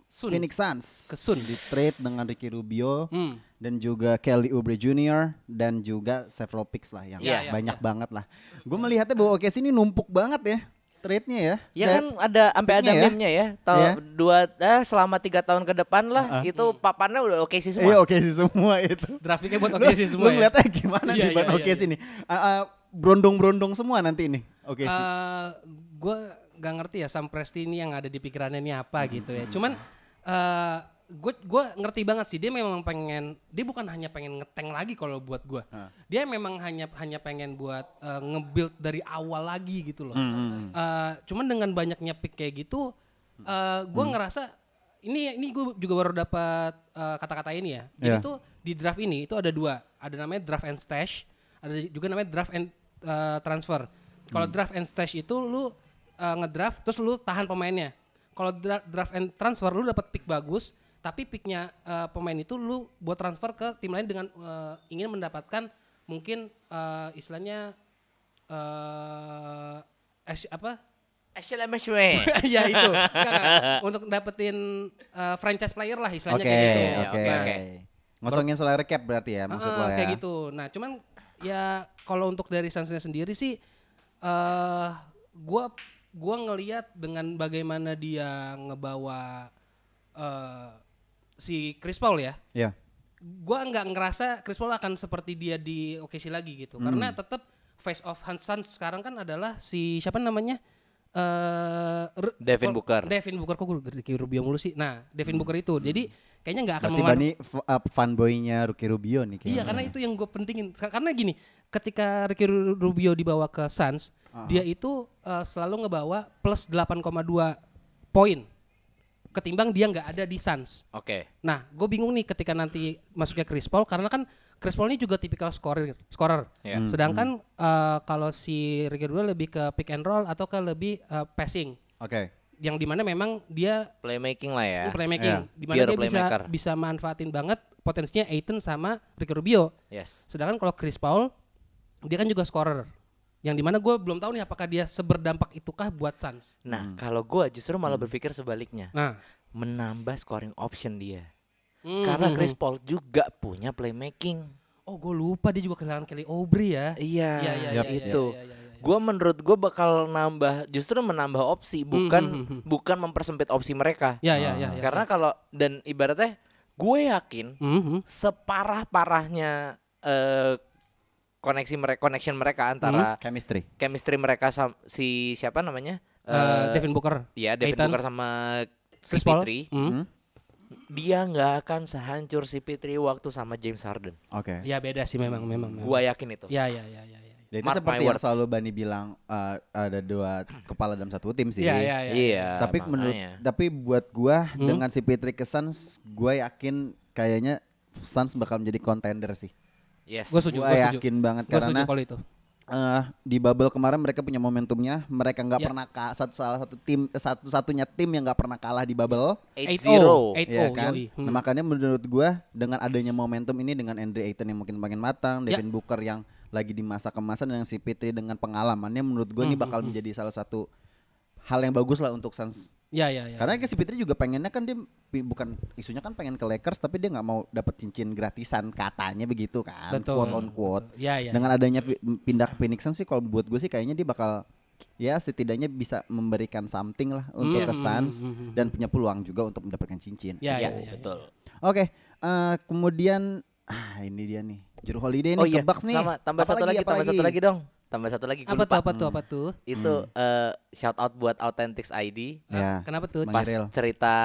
Sun.
Phoenix Suns.
Ke Sun.
Di trade dengan Ricky Rubio
Hmm.
dan juga Kelly Oubre Jr. dan juga several picks lah yang
Iya,
banyak banget lah. Gue melihatnya bahwa OKC ini numpuk banget ya trade-nya ya.
Ya
Iya
Dan-
kan ada sampai ada
Picknya ya.
meme-nya ya. Tahu
Iya. Ah.
dua eh, selama tiga tahun ke depan lah itu papannya udah oke sih
Iya
semua.
OKC semua itu.
Draftnya buat
Lu-
oke sih semua.
Lu
ya.
ngeliatnya gimana
Iya,
nih buat
iya, iya,
OKC nih? Ah, ah, Brondong-brondong semua nanti ini OKC.
Eh, gue gak ngerti ya Sam Presti ini yang ada di pikirannya ini apa gitu ya. Cuman eh gue gue ngerti banget sih dia memang pengen dia bukan hanya pengen ngeteng lagi kalau buat gue dia memang hanya hanya pengen buat eh, nge-build dari awal lagi gitu loh Eh, cuman dengan banyaknya pick kayak gitu eh, gue ngerasa ini ini gue juga baru dapat eh, kata-kata ini ya jadi
Iya.
tuh di draft ini itu ada dua ada namanya draft and stash ada juga namanya draft and eh, transfer
Hmm.
kalau draft and stash itu lu eh, ngedraft terus lu tahan pemainnya kalau dra- draft and transfer lu dapat pick bagus tapi picknya eh, pemain itu lu buat transfer ke tim lain dengan eh, ingin mendapatkan mungkin eh, istilahnya eh as- apa
Ashley Meshwe.
ya itu Nggak, nggak. untuk dapetin eh, franchise player lah istilahnya
Oke,
kayak gitu
oke.
oke, oke.
Ngosongin selera recap berarti ya maksud
Ah,
lo ya.
kayak gitu. Nah, cuman ya kalau untuk dari Sunsnya sendiri sih eh gua gua ngelihat dengan bagaimana dia ngebawa eh si Chris Paul ya.
Iya.
Gua nggak ngerasa Chris Paul akan seperti dia di OKC lagi gitu.
Hmm.
Karena tetap face of Hans Suns sekarang kan adalah si siapa namanya? eh Ru-
Devin
kok-
Booker.
Devin Booker kok gue Ricky Rubio mulu sih. Nah, Devin Booker itu. Jadi kayaknya nggak akan
Hmm. Berarti
mempengaruhi-
Bani f- uh, fanboy-nya Ruki Rubio nih kayaknya.
Iya karena itu yang gue pentingin Ka- karena gini ketika Ricky Ru- Rubio dibawa ke Suns
Ah.
dia itu eh, selalu ngebawa plus 8,2 poin ketimbang dia nggak ada di Suns.
Oke.
Nah gue bingung nih ketika nanti masuknya Chris Paul karena kan Chris Paul ini juga tipikal scorer, scorer.
Iya. Hmm,
Sedangkan eh, kalau si Ricky Rubio lebih ke pick and roll atau ke lebih eh, passing
Oke.
yang dimana memang dia
Playmaking lah ya.
ini playmaking
Iya.
dimana
Pure
dia bisa
playmaker.
bisa manfaatin banget potensinya Aiton sama Ricky Rubio.
Yes.
Sedangkan kalau Chris Paul, dia kan juga scorer. Yang dimana gue belum tahu nih apakah dia seberdampak itukah buat Suns.
Nah,
Hmm.
kalau gua justru malah berpikir sebaliknya.
Nah,
Menambah scoring option dia.
Hmm,
Karena
hmm,
Chris Paul juga punya playmaking.
oh gue lupa dia juga kehilangan Kelly Oubre ya.
Iya,
Iya, iya,
iya,
itu.
iya, iya, iya, iya.
Gua menurut gua bakal nambah justru menambah opsi bukan
hmm, hmm.
bukan mempersempit opsi mereka.
Ya, ya, ya, ya.
Karena kalau dan ibaratnya gue yakin
Mhm.
separah-parahnya eh koneksi mereka connection mereka
Hmm?
antara
Chemistry.
chemistry mereka sam- si siapa namanya?
Eh, Devin Booker.
ya Devin
Aiton,
Booker sama
Chris Paul.
CP3.
Hmm.
Dia nggak akan sehancur CP3 waktu sama James Harden.
Oke.
Ya beda sih memang, memang.
Hmm.
memang.
Gua yakin itu.
Ya, ya, ya, ya, ya.
Ya, itu
Mark my
seperti yang
words.
selalu Bani bilang uh, ada dua kepala dalam satu tim sih.
Iya, iya, Hmm? iya.
Iya.
tapi menurut
makanya.
tapi buat gua dengan si Patrick ke Suns, gua yakin kayaknya Suns bakal menjadi contender sih.
Yes.
Gue setuju.
Gua
gue
yakin banget
Gua
karena-
setuju kalau itu.
eh di bubble kemarin mereka punya momentumnya, mereka nggak
Ya.
pernah ka, satu salah satu tim eh, satu-satunya tim yang nggak pernah kalah di bubble.
8-0.
8-0.
Iya kan?
yoi. Hmm.
Nah, makanya menurut gua dengan adanya momentum ini dengan Andre Ayton yang mungkin makin matang,
Ya.
Devin Booker yang lagi di masa kemasan dan si Pitri dengan pengalamannya menurut gua
Hmm,
ini bakal menjadi salah satu hal yang bagus lah untuk Suns.
Ya, ya, ya.
Karena kan si Pitri juga pengennya kan dia pi- bukan isunya kan pengen ke Lakers tapi dia nggak mau dapat cincin gratisan katanya begitu kan.
Betul.
Quote on quote.
Betul. Ya, ya.
Dengan adanya pi- pindah ke Phoenix Suns sih kalau buat gue sih kayaknya dia bakal ya setidaknya bisa memberikan something lah untuk
Hmm.
ke Suns dan punya peluang juga untuk mendapatkan cincin.
Ya,
Iya,
ya, ya,
betul.
Oke, eh, kemudian ah ini dia nih. Juru holiday nih
Oh iya,
ke Bucks nih.
sama tambah
Apa
satu lagi,
apa
tambah satu lagi dong. Tambah satu lagi gua
Apa
lupa.
tuh, apa tuh, apa tuh?
Itu eh, shout out buat Authentics ID
Nah,
Ya.
Kenapa tuh?
Bang
pas
Iril.
cerita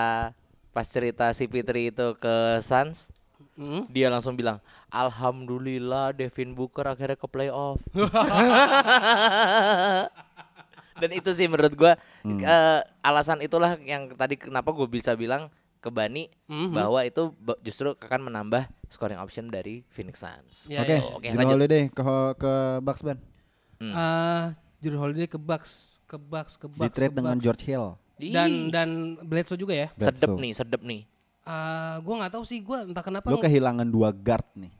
pas cerita si Fitri itu ke Suns
Hmm.
dia langsung bilang alhamdulillah Devin Booker akhirnya ke playoff dan itu sih menurut gua eh, alasan itulah yang tadi kenapa gue bisa bilang ke Bani
Mhm.
bahwa itu ba- justru akan menambah scoring option dari Phoenix Suns.
Ya,
Oke,
ya,
Iya, Oke,
Juru
lanjut.
holiday ke ke Bucks ban.
Hmm.
Eh, Jrue Holiday ke Bucks, ke Bucks, ke
Di
Bucks,
trade
ke
dengan
Bucks.
George Hill.
dan dan Bledsoe juga ya.
sedep
Bledsoe.
nih, sedep nih.
Eh gue nggak tahu sih gue entah kenapa.
Lo kehilangan dua guard nih.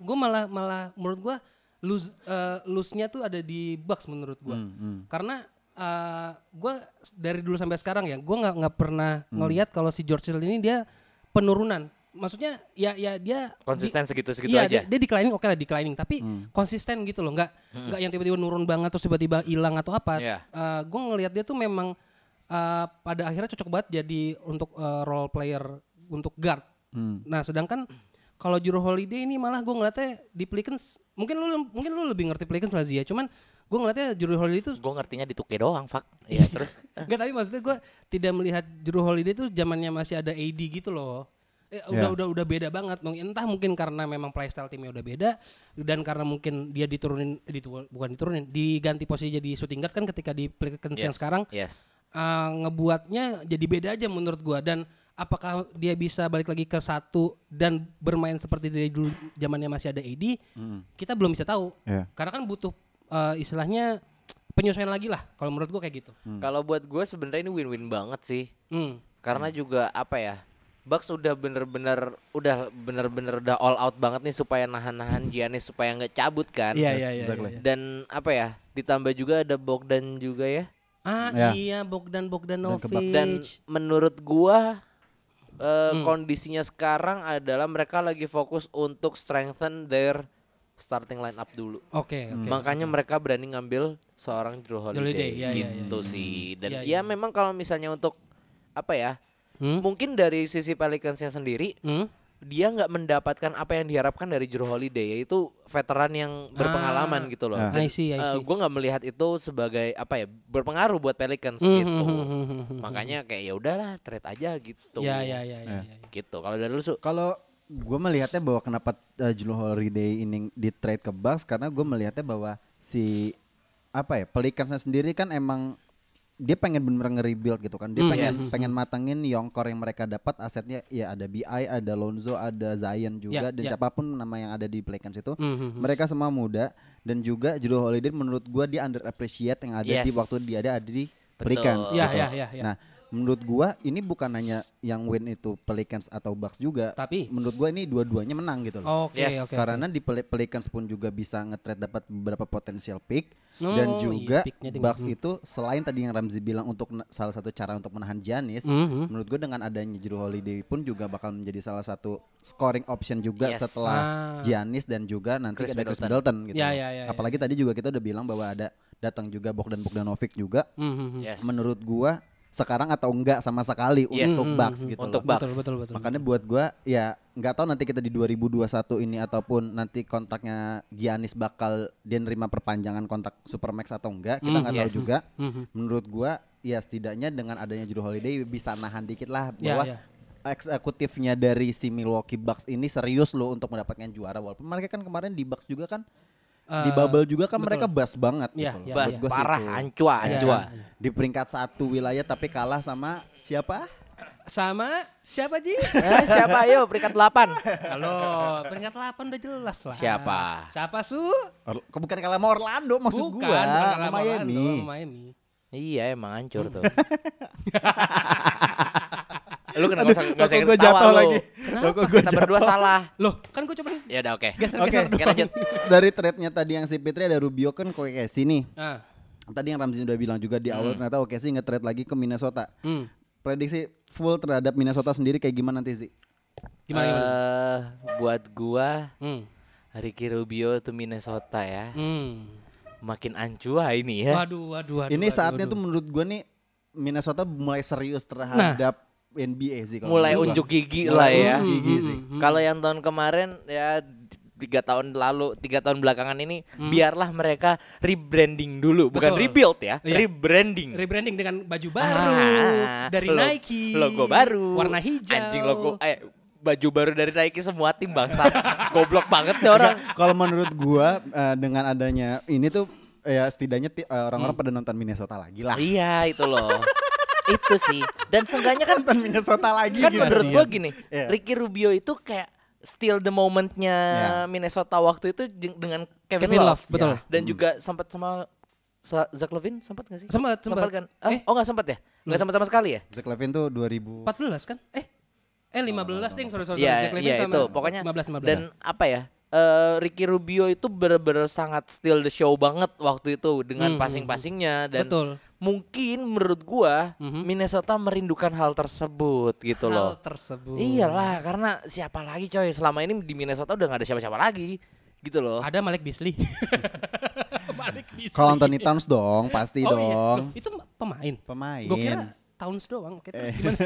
gue malah malah menurut gue lose eh, lose-nya tuh ada di Bucks menurut gue.
Hmm,
Karena gue dari dulu sampai sekarang ya gue nggak nggak pernah
Hmm.
ngelihat kalau si George Hill ini dia penurunan. Maksudnya ya ya dia
Konsisten segitu-segitu
iya,
gitu aja. Hmm.
Dia, dia declining oke lah declining tapi konsisten gitu loh, nggak nggak yang tiba-tiba nurun banget terus tiba-tiba hilang atau apa.
Iya.
gue ngelihat dia tuh memang eh, pada akhirnya cocok banget jadi untuk eh, role player untuk guard.
Hmm.
Nah, sedangkan kalau Juru Holiday ini malah gue ngeliatnya di Pelicans mungkin lu mungkin lu lebih ngerti Pelicans lah Zia, cuman Gue ngeliatnya Juru Holiday itu
Gue ngertinya di Tuke doang, fuck. Iya, terus
Enggak tapi maksudnya gue tidak melihat Juru Holiday itu zamannya masih ada AD gitu loh. Eh, udah
Ya.
udah udah beda banget. Mungkin- Entah mungkin karena memang playstyle timnya udah beda dan karena mungkin dia diturunin ditu- bukan diturunin, diganti posisi jadi shooting guard kan ketika di Pelicans
Yes,
yang sekarang
Yes.
eh, ngebuatnya jadi beda aja menurut gua dan apakah dia bisa balik lagi ke satu dan bermain seperti dari dulu zamannya masih ada AD kita belum bisa tahu
Iya.
karena kan butuh eh, istilahnya penyesuaian lagi lah kalau menurut gua kayak gitu
Kalau buat gue sebenarnya ini win-win banget sih.
Hmm.
Karena juga apa ya? Bucks udah bener-bener udah bener-bener udah all out banget nih supaya nahan-nahan Giannis supaya nggak cabut kan.
Iya
Yes,
iya iya.
exactly.
iya.
Dan apa ya? Ditambah juga ada Bogdan juga ya.
Ah
Ya.
iya Bogdan
Dan
Bogdanovic.
menurut gua eh,
Hmm.
kondisinya sekarang adalah mereka lagi fokus untuk strengthen their starting lineup dulu.
Oke oke.
Makanya mereka berani ngambil seorang Drew Holiday,
Holiday, ya, ya, ya,
gitu sih. Dan
Ya,
ya,
ya.
memang kalau misalnya untuk apa ya?
Hmm?
Mungkin dari sisi Pelicansnya sendiri
Hmm?
dia nggak mendapatkan apa yang diharapkan dari Drew Holiday yaitu veteran yang berpengalaman gitu loh.
Ah.
Dan,
I see, I
eh,
see.
gua nggak melihat itu sebagai apa ya berpengaruh buat Pelicans
Hmm,
gitu.
hmm, hmm, hmm, hmm, hmm.
Makanya kayak ya udahlah trade aja gitu.
Ya ya ya ya. ya.
Gitu. Kalau dari lu Su,
Kalau gue melihatnya bahwa kenapa uh, Jrue Holiday ini di trade ke Bucks karena gue melihatnya bahwa si apa ya Pelicansnya sendiri kan emang dia pengen bener nge-rebuild gitu kan dia
Hmm,
pengen
yes.
pengen matangin young core yang mereka dapat asetnya ya ada BI ada Lonzo ada Zion
Ya,
juga dan
ya.
siapapun nama yang ada di Pelicans itu
Hmm, hmm, hmm.
mereka semua muda dan juga Jrue Holiday menurut gue dia underappreciate yang ada di
Yes.
waktu dia ada ada di
Betul.
Pelicans
Ya,
gitu.
ya, ya, ya.
Nah, menurut gua ini bukan hanya yang win itu Pelicans atau Bucks juga.
Tapi?
menurut gua ini dua-duanya menang gitu loh.
Oke
Yes,
oke.
Karena di Pel- Pelicans pun juga bisa nge-trade dapat beberapa potensial pick
Oh, iya,
dan juga
picknya dengan-
Bucks itu selain tadi yang Ramzi bilang untuk ne- salah satu cara untuk menahan Giannis,
Mhm.
menurut gua dengan adanya Jrue Holiday pun juga bakal menjadi salah satu scoring option juga
Yes.
setelah
Ah.
Giannis dan juga nanti
Chris
ada Chris
Middleton.
Middleton gitu.
Ya,
loh.
ya, ya, ya.
Apalagi tadi juga kita udah bilang bahwa ada datang juga Bogdan Bogdanovic juga
Hmm, hmm, hmm.
yes.
menurut gua sekarang atau enggak sama sekali
Yes.
untuk Bucks
Hmm,
gitu
Hmm. Untuk
loh.
Bucks.
Betul betul betul.
Makanya buat gua ya nggak tahu nanti kita di 2021 ini ataupun nanti kontraknya Giannis bakal dia nerima perpanjangan kontrak Supermax atau enggak, kita
Hmm,
nggak
yes.
tahu juga.
Mhm.
Menurut gua ya setidaknya dengan adanya Jrue Holiday bisa nahan dikit lah
Ya,
bahwa
ya.
eksekutifnya dari si Milwaukee Bucks ini serius loh untuk mendapatkan juara walaupun mereka kan kemarin di Bucks juga kan di
Eh,
bubble juga kan
betul.
mereka bas banget
Ya,
gitu.
ya,
loh.
Bas
Menurut gua sih
parah
itu.
ancua
Iya.
ancua.
Di peringkat satu wilayah tapi kalah sama siapa?
Sama siapa Ji?
Eh, siapa ayo peringkat 8.
Halo, peringkat 8 udah jelas lah.
Siapa?
Siapa Su?
Or- bukan kalah sama Orlando maksud
Bukan,
gua,
bukan
sama
Lama
Miami.
Orlando, sama Miami.
Iya emang hancur tuh. lu kenapa nggak usah-
Aduh,
nggak
rokok
usah
gua
ketawa
jatuh
lu?
lagi. Rokok gua
Kita berdua
jatuh.
salah.
Loh, kan gue coba
Ya udah oke.
Oke.
geser-geser
Oke,
doang.
lanjut.
Dari trade-nya tadi yang si Fitri ada Rubio kan ke OKC nih.
Ah,
Tadi yang Ramzi udah bilang juga di awal
Hmm.
ternyata OKC nge-trade lagi ke Minnesota.
Hmm.
Prediksi full terhadap Minnesota sendiri kayak gimana nanti sih?
Gimana gimana? Su?
Eh, buat gua
Hmm.
Ricky Rubio tuh Minnesota ya.
Hmm.
Makin ancua ini ya.
Waduh, waduh, waduh.
Ini
waduh,
saatnya
waduh.
tuh menurut gua nih Minnesota mulai serius terhadap NBA sih kalau
Nah. Mulai
menurut gua.
unjuk gigi
Mulai
lah ya.
unjuk gigi sih.
Kalau yang tahun kemarin ya tiga tahun lalu, tiga tahun belakangan ini biarlah mereka rebranding dulu, bukan
Betul.
rebuild ya,
Iya.
rebranding.
rebranding dengan baju baru
Ah,
dari
lo-
Nike.
Logo baru.
Warna hijau.
Anjing logo eh baju baru dari Nike semua tim bangsa. Goblok banget nih orang.
Kalau menurut gua eh, dengan adanya ini tuh ya setidaknya ti- eh, orang-orang pada nonton Minnesota lagi lah.
Hmm. iya, itu loh. itu sih. Dan seenggaknya kan
Nonton Minnesota lagi
kan
gitu.
menurut gua gini,
Iya.
Ricky Rubio itu kayak still the momentnya Minnesota waktu itu jeng- dengan Kevin,
Iya. Kevin Love,
Love,
betul.
Iya. Dan juga sempat sama Sa- Zach Levine sempat gak sih?
Sempat, sempat.
kan? Ah,
Eh.
Oh nggak sempat ya? Nggak sama sama sekali ya?
Zach Levin tuh 2000
14 kan? Eh, eh 15 ding, sorry sorry.
Iya,
sorry. Zach Levine
iya
sama
itu. Pokoknya
15 15.
dan apa ya? eh, Ricky Rubio itu bener-bener sangat still the show banget waktu itu dengan passing-passingnya dan
Hmm, Betul. Hmm.
mungkin menurut gua Minnesota merindukan hal tersebut gitu
hal
loh. Iya.
tersebut.
Iyalah, karena siapa lagi coy? Selama ini di Minnesota udah nggak ada siapa-siapa lagi, gitu loh.
Ada Malik Beasley. Malik Beasley.
Kalau Anthony Towns dong, pasti
Oh iya.
dong.
Loh, itu pemain.
Pemain.
Gue kira Towns doang. Oke, terus gimana?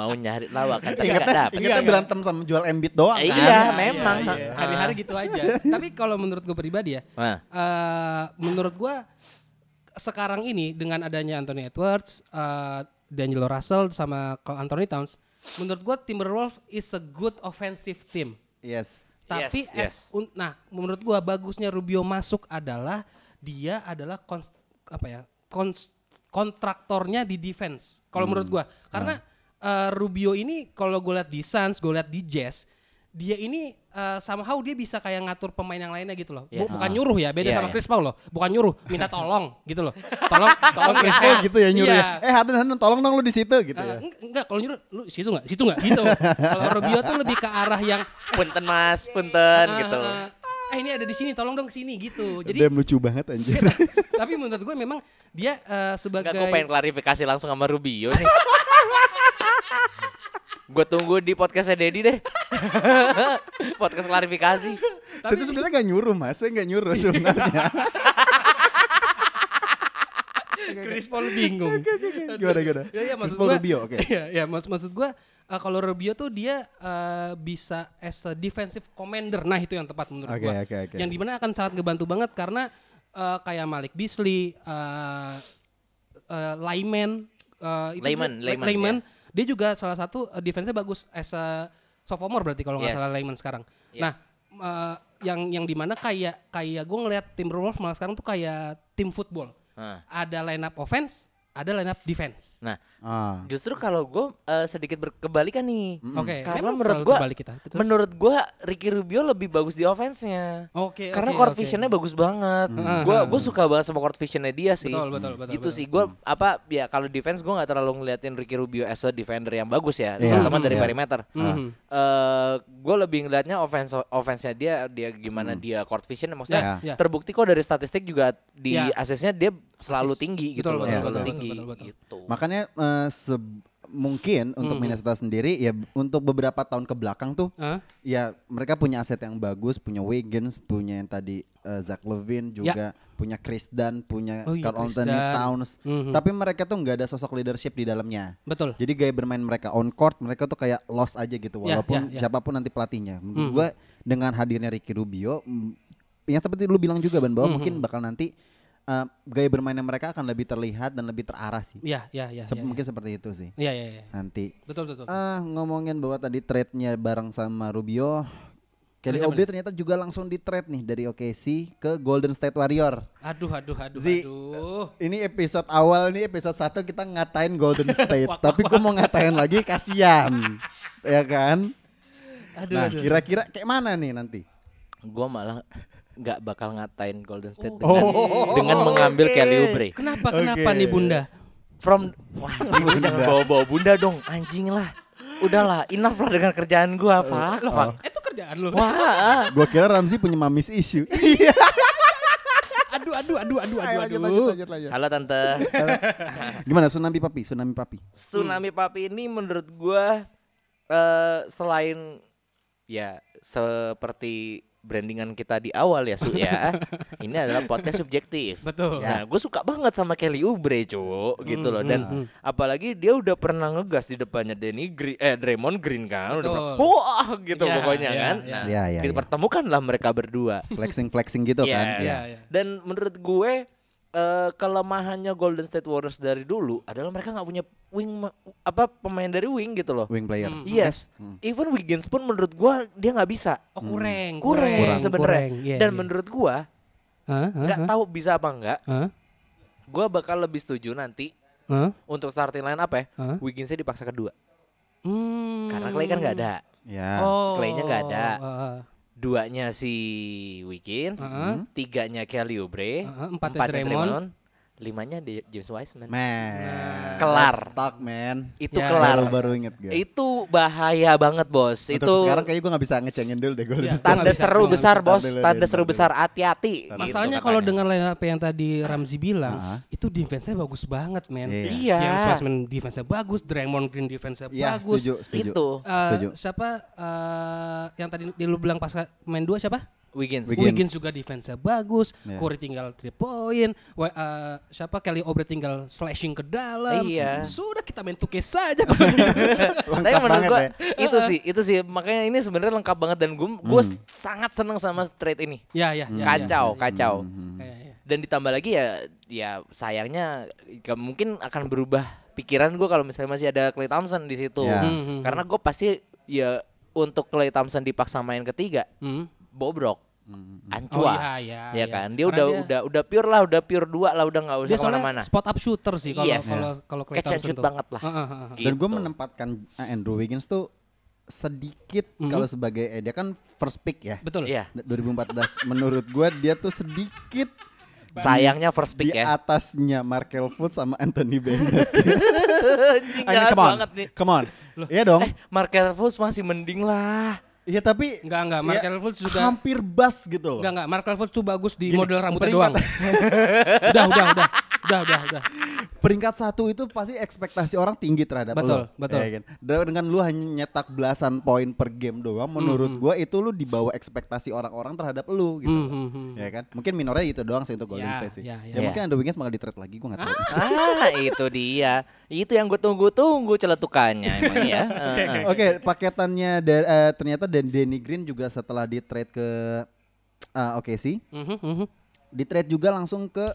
mau nyari lawakan tapi
Ingat,
nggak dapet.
ingatnya berantem sama jual Embiid doang
Eh,
kan?
iya, memang.
iya. Hari-hari gitu aja. Tapi kalau menurut gue pribadi ya,
Nah.
eh, menurut gue sekarang ini dengan adanya Anthony Edwards, eh, D'Angelo Russell sama Karl Anthony Towns, menurut gue Timberwolves is a good offensive team.
Yes.
Tapi
Yes,
as- un- nah menurut gua bagusnya Rubio masuk adalah dia adalah kons- apa ya? kons- kontraktornya di defense. Kalau
Hmm.
menurut gua karena
Nah.
eh, Rubio ini kalau gue lihat di Suns, gue lihat di Jazz, dia ini eh, somehow dia bisa kayak ngatur pemain yang lainnya gitu loh. Bu-
Yes.
Bukan nyuruh ya, beda
Iya,
sama
iya.
Chris Paul loh. Bukan nyuruh, minta tolong gitu loh. Tolong tolong
Chris
ya.
Paul gitu ya nyuruh
Iya.
ya. Eh Harden Harden tolong dong lu di situ gitu ya.
Eh, eng- enggak kalau nyuruh lu situ enggak situ enggak gitu kalau Rubio tuh lebih ke arah yang
punten mas punten
Ah,
gitu
ah, ah. Eh ini ada di sini, tolong dong sini gitu. Jadi
Damn lucu banget anjir.
tapi menurut gue memang dia eh, sebagai
Enggak, gue pengen klarifikasi langsung sama Rubio nih. gue tunggu di podcastnya Dedi deh. Podcast klarifikasi.
Saya tuh sebenarnya gak nyuruh mas, saya gak nyuruh
Iya.
sebenarnya.
Chris Paul bingung.
Gimana, gimana?
Ya, ya, maksud
Chris Paul
gua-
Rubio, oke.
Iya, ya, maksud maksud gue kalau Rubio tuh dia eh, bisa as a defensive commander. Nah, itu yang tepat menurut
Oke,
gue.
oke, oke.
Yang dimana akan sangat ngebantu banget karena eh, kayak Malik Beasley, eh eh, Lyman, eh, itu
Lyman,
dia-
Lyman, iya.
dia juga salah satu eh, defense-nya bagus as a sophomore berarti kalau nggak
Yes.
salah Lyman sekarang.
Iya.
Nah, eh, yang yang dimana kayak kayak gue ngeliat Timberwolves malah sekarang tuh kayak tim football.
Hah.
Ada line up offense, ada line up defense.
Nah,
Ah.
justru kalau gue sedikit berkebalikan nih.
Hmm. Oke,
Karena
memang
menurut
terlalu
gue,
terbalik kita. Terus?
menurut gue Ricky Rubio lebih bagus di offense-nya.
Oke,
Karena
oke,
court
oke.
vision-nya bagus banget.
Mm-hmm.
Gue gue suka banget sama court vision-nya dia sih.
Betul, betul, betul,
Gitu
betul.
sih gue apa ya kalau defense gue nggak terlalu ngeliatin Ricky Rubio as a defender yang bagus ya,
Iya.
terutama dari
Iya.
perimeter.
Mm-hmm.
gue lebih ngeliatnya offense offense-nya dia dia gimana
Mm.
dia court vision maksudnya
Iya, iya.
terbukti kok dari statistik juga di
Iya.
asesnya dia selalu tinggi gitu
Betul,
loh,
betul,
selalu
betul,
tinggi
betul, betul,
gitu.
Makanya eh, se- mungkin untuk
Hmm.
Minnesota sendiri ya b- untuk beberapa tahun ke belakang tuh
Hah?
ya mereka punya aset yang bagus, punya Wiggins, punya yang tadi eh, Zach Levine juga, punya Chris Dunn, punya
Ya. Oh iya,
Karl
Chris
Anthony
Dunn.
Towns.
Mhm.
Tapi mereka tuh nggak ada sosok leadership di dalamnya.
Betul.
Jadi gaya bermain mereka on court mereka tuh kayak lost aja gitu
Ya,
walaupun
ya, Mhm. ya.
siapapun nanti pelatihnya. Menurut gua dengan hadirnya Ricky Rubio mm, yang seperti lu bilang juga Ban
Mhm.
bahwa mungkin bakal nanti uh, gaya bermainnya mereka akan lebih terlihat dan lebih terarah sih.
Iya, iya, iya.
Sep-
iya.
mungkin seperti itu sih
Iya, iya, iya.
nanti.
Betul, betul. betul.
Ah, ngomongin bahwa tadi trade-nya bareng sama Rubio Kelly Oubre ternyata juga langsung di trade nih dari OKC ke Golden State Warrior.
Aduh, aduh, aduh,
Zi.
aduh.
Ini episode awal nih episode 1 kita ngatain Golden State,
Wak, wak,
tapi gue mau ngatain lagi kasihan. ya kan?
Aduh,
Nah,
aduh.
kira-kira kayak mana nih nanti?
Gue malah nggak bakal ngatain Golden State
Oh.
dengan,
Oh,
dengan
oke.
mengambil Kelly Oubre.
Kenapa, kenapa
Oke.
nih Bunda?
From wah, lu jangan bawa-bawa bunda dong, anjing lah. Udahlah, enough lah dengan kerjaan gua, Pak. Pak.
Eh, Itu kerjaan lu.
Wah,
Gua kira Ramzi punya mamis issue. Iya.
Aduh, aduh, aduh, aduh, aduh,
Ayo, lanjut,
aduh.
lanjut, lanjut, lanjut.
halo tante.
Gimana tsunami papi? Tsunami papi.
Tsunami Papi ini menurut gua eh selain ya seperti brandingan kita di awal ya, Su ya. ini adalah podcast subjektif.
Betul.
Nah, gue suka banget sama Kelly Oubre, Cuk, gitu
Hmm,
loh. Dan apalagi dia udah pernah ngegas di depannya Danny Green, eh Draymond Green kan, udah
Betul.
pernah, wah gitu
Iya,
pokoknya
iya,
kan.
iya.
Nah,
Iya, iya, iya.
dipertemukanlah mereka berdua.
Flexing flexing gitu
Yes.
kan.
Iya, iya.
Dan menurut gue eh, kelemahannya Golden State Warriors dari dulu adalah mereka nggak punya wing ma- apa pemain dari wing gitu loh.
Wing Hmm. player.
Mm, hmm.
Yes, even Wiggins pun menurut gua dia nggak bisa.
Oh, kurang,
Kurang Hmm. sebenarnya.
kurang. Iya,
Dan
iya.
menurut gua
Hah? Hah?
nggak
Hah?
tahu bisa apa enggak.
Hah?
Gua bakal lebih setuju nanti
Hah?
untuk starting line apa ya?
Hah?
Wigginsnya dipaksa kedua.
Hmm.
Karena Clay kan nggak ada.
Ya.
Oh.
Clay-nya nggak ada.
Heeh.
Duanya si Wiggins,
Heeh.
tiganya Kelly Oubre,
Heeh, empatnya
empatnya
Draymond.
Draymond, limanya di- James Wiseman.
Man.
Kelar.
Let's Talk man. Iya,
Itu
Ya.
kelar.
Baru-baru inget gue.
Itu bahaya banget bos.
Untuk
itu
sekarang kayaknya ya, gue gak bisa ngecengin dulu deh Golden
Iya.
State.
tanda
Nggak bisa,
seru
nggak
besar
bisa.
bos.
Ntar dulu,
Tanda
ntar
seru
dulu.
besar hati-hati. gitu
Masalahnya kalau
katanya.
dengar line up yang tadi Ramzi bilang,
Ah.
itu defense-nya bagus banget, men.
Iya.
Iya.
James Wiseman defense-nya bagus, Draymond Green defense-nya
Iya,
bagus.
setuju, setuju.
Itu.
Eh,
Setuju.
siapa eh, yang tadi lu bilang pas main dua siapa?
Wiggins.
Wiggins.
Wiggins juga defense-nya bagus,
Iya.
Curry tinggal 3 point, Wa- eh, siapa Kelly Oubre tinggal slashing ke dalam.
Iya.
Sudah kita main 2K saja kalau gitu.
Tapi menurut
banget
gua
ya.
itu sih, itu sih makanya ini sebenarnya lengkap banget dan gue gue
Hmm.
sangat seneng sama trade ini.
Ya, ya, ya.
Kacau, kacau.
Hmm.
Ya, ya, ya.
Dan ditambah lagi ya ya sayangnya gak mungkin akan berubah pikiran gue kalau misalnya masih ada Clay Thompson di situ.
Ya.
Hmm, hmm,
Karena gue pasti ya untuk Clay Thompson dipaksa main ketiga
Hmm.
bobrok.
Hmm,
Ancua.
Oh, iya,
Ya
iya, iya.
kan, dia
Karena
udah
dia-
udah udah pure lah, udah pure dua lah, udah nggak usah
Dia soalnya
kemana-mana.
spot up shooter sih kalau
Yes.
kalau
Iya.
kalau Klay
Catch and
Thompson
shoot
tuh.
banget lah.
Heeh, heeh, heeh.
Dan gue
Gitu.
menempatkan uh, Andrew Wiggins tuh sedikit
Mhm.
kalau sebagai eh, dia kan first pick ya.
Betul.
Iya.
D- 2014 menurut gue dia tuh sedikit di-
Sayangnya first pick
di
ya.
atasnya Markel Fultz sama Anthony Bennett.
Anjing,
I mean,
jahat
come on,
banget nih.
come on. Iya dong.
Eh, Markel Fultz masih mending lah.
Iya tapi
Enggak, enggak,
ya,
Markel Fultz juga-
hampir bas gitu loh.
Enggak enggak, Markel Fultz tuh bagus di
Gini,
model rambutnya doang.
peringkat-
udah, udah, udah. Udah, udah, udah.
Peringkat satu itu pasti ekspektasi orang tinggi terhadap
Betul,
lo.
betul.
Ya kan? Dan Dengan lu hanya nyetak belasan poin per game doang, menurut gua itu lu di bawah ekspektasi orang-orang terhadap lu gitu.
Hmm, hmm, hmm.
Ya kan? Mungkin minornya itu doang sih untuk Golden
Ya,
State sih.
ya,
Ya,
ya.
mungkin Andrew Wiggins bakal di-trade lagi gua enggak tahu.
ah, itu dia. Itu yang gue tunggu-tunggu celetukannya emang ya.
Oke, paketannya da- eh, ternyata Dan Danny Green juga setelah di-trade ke eh, oke sih.
Mhm, mhm.
Di-trade juga langsung ke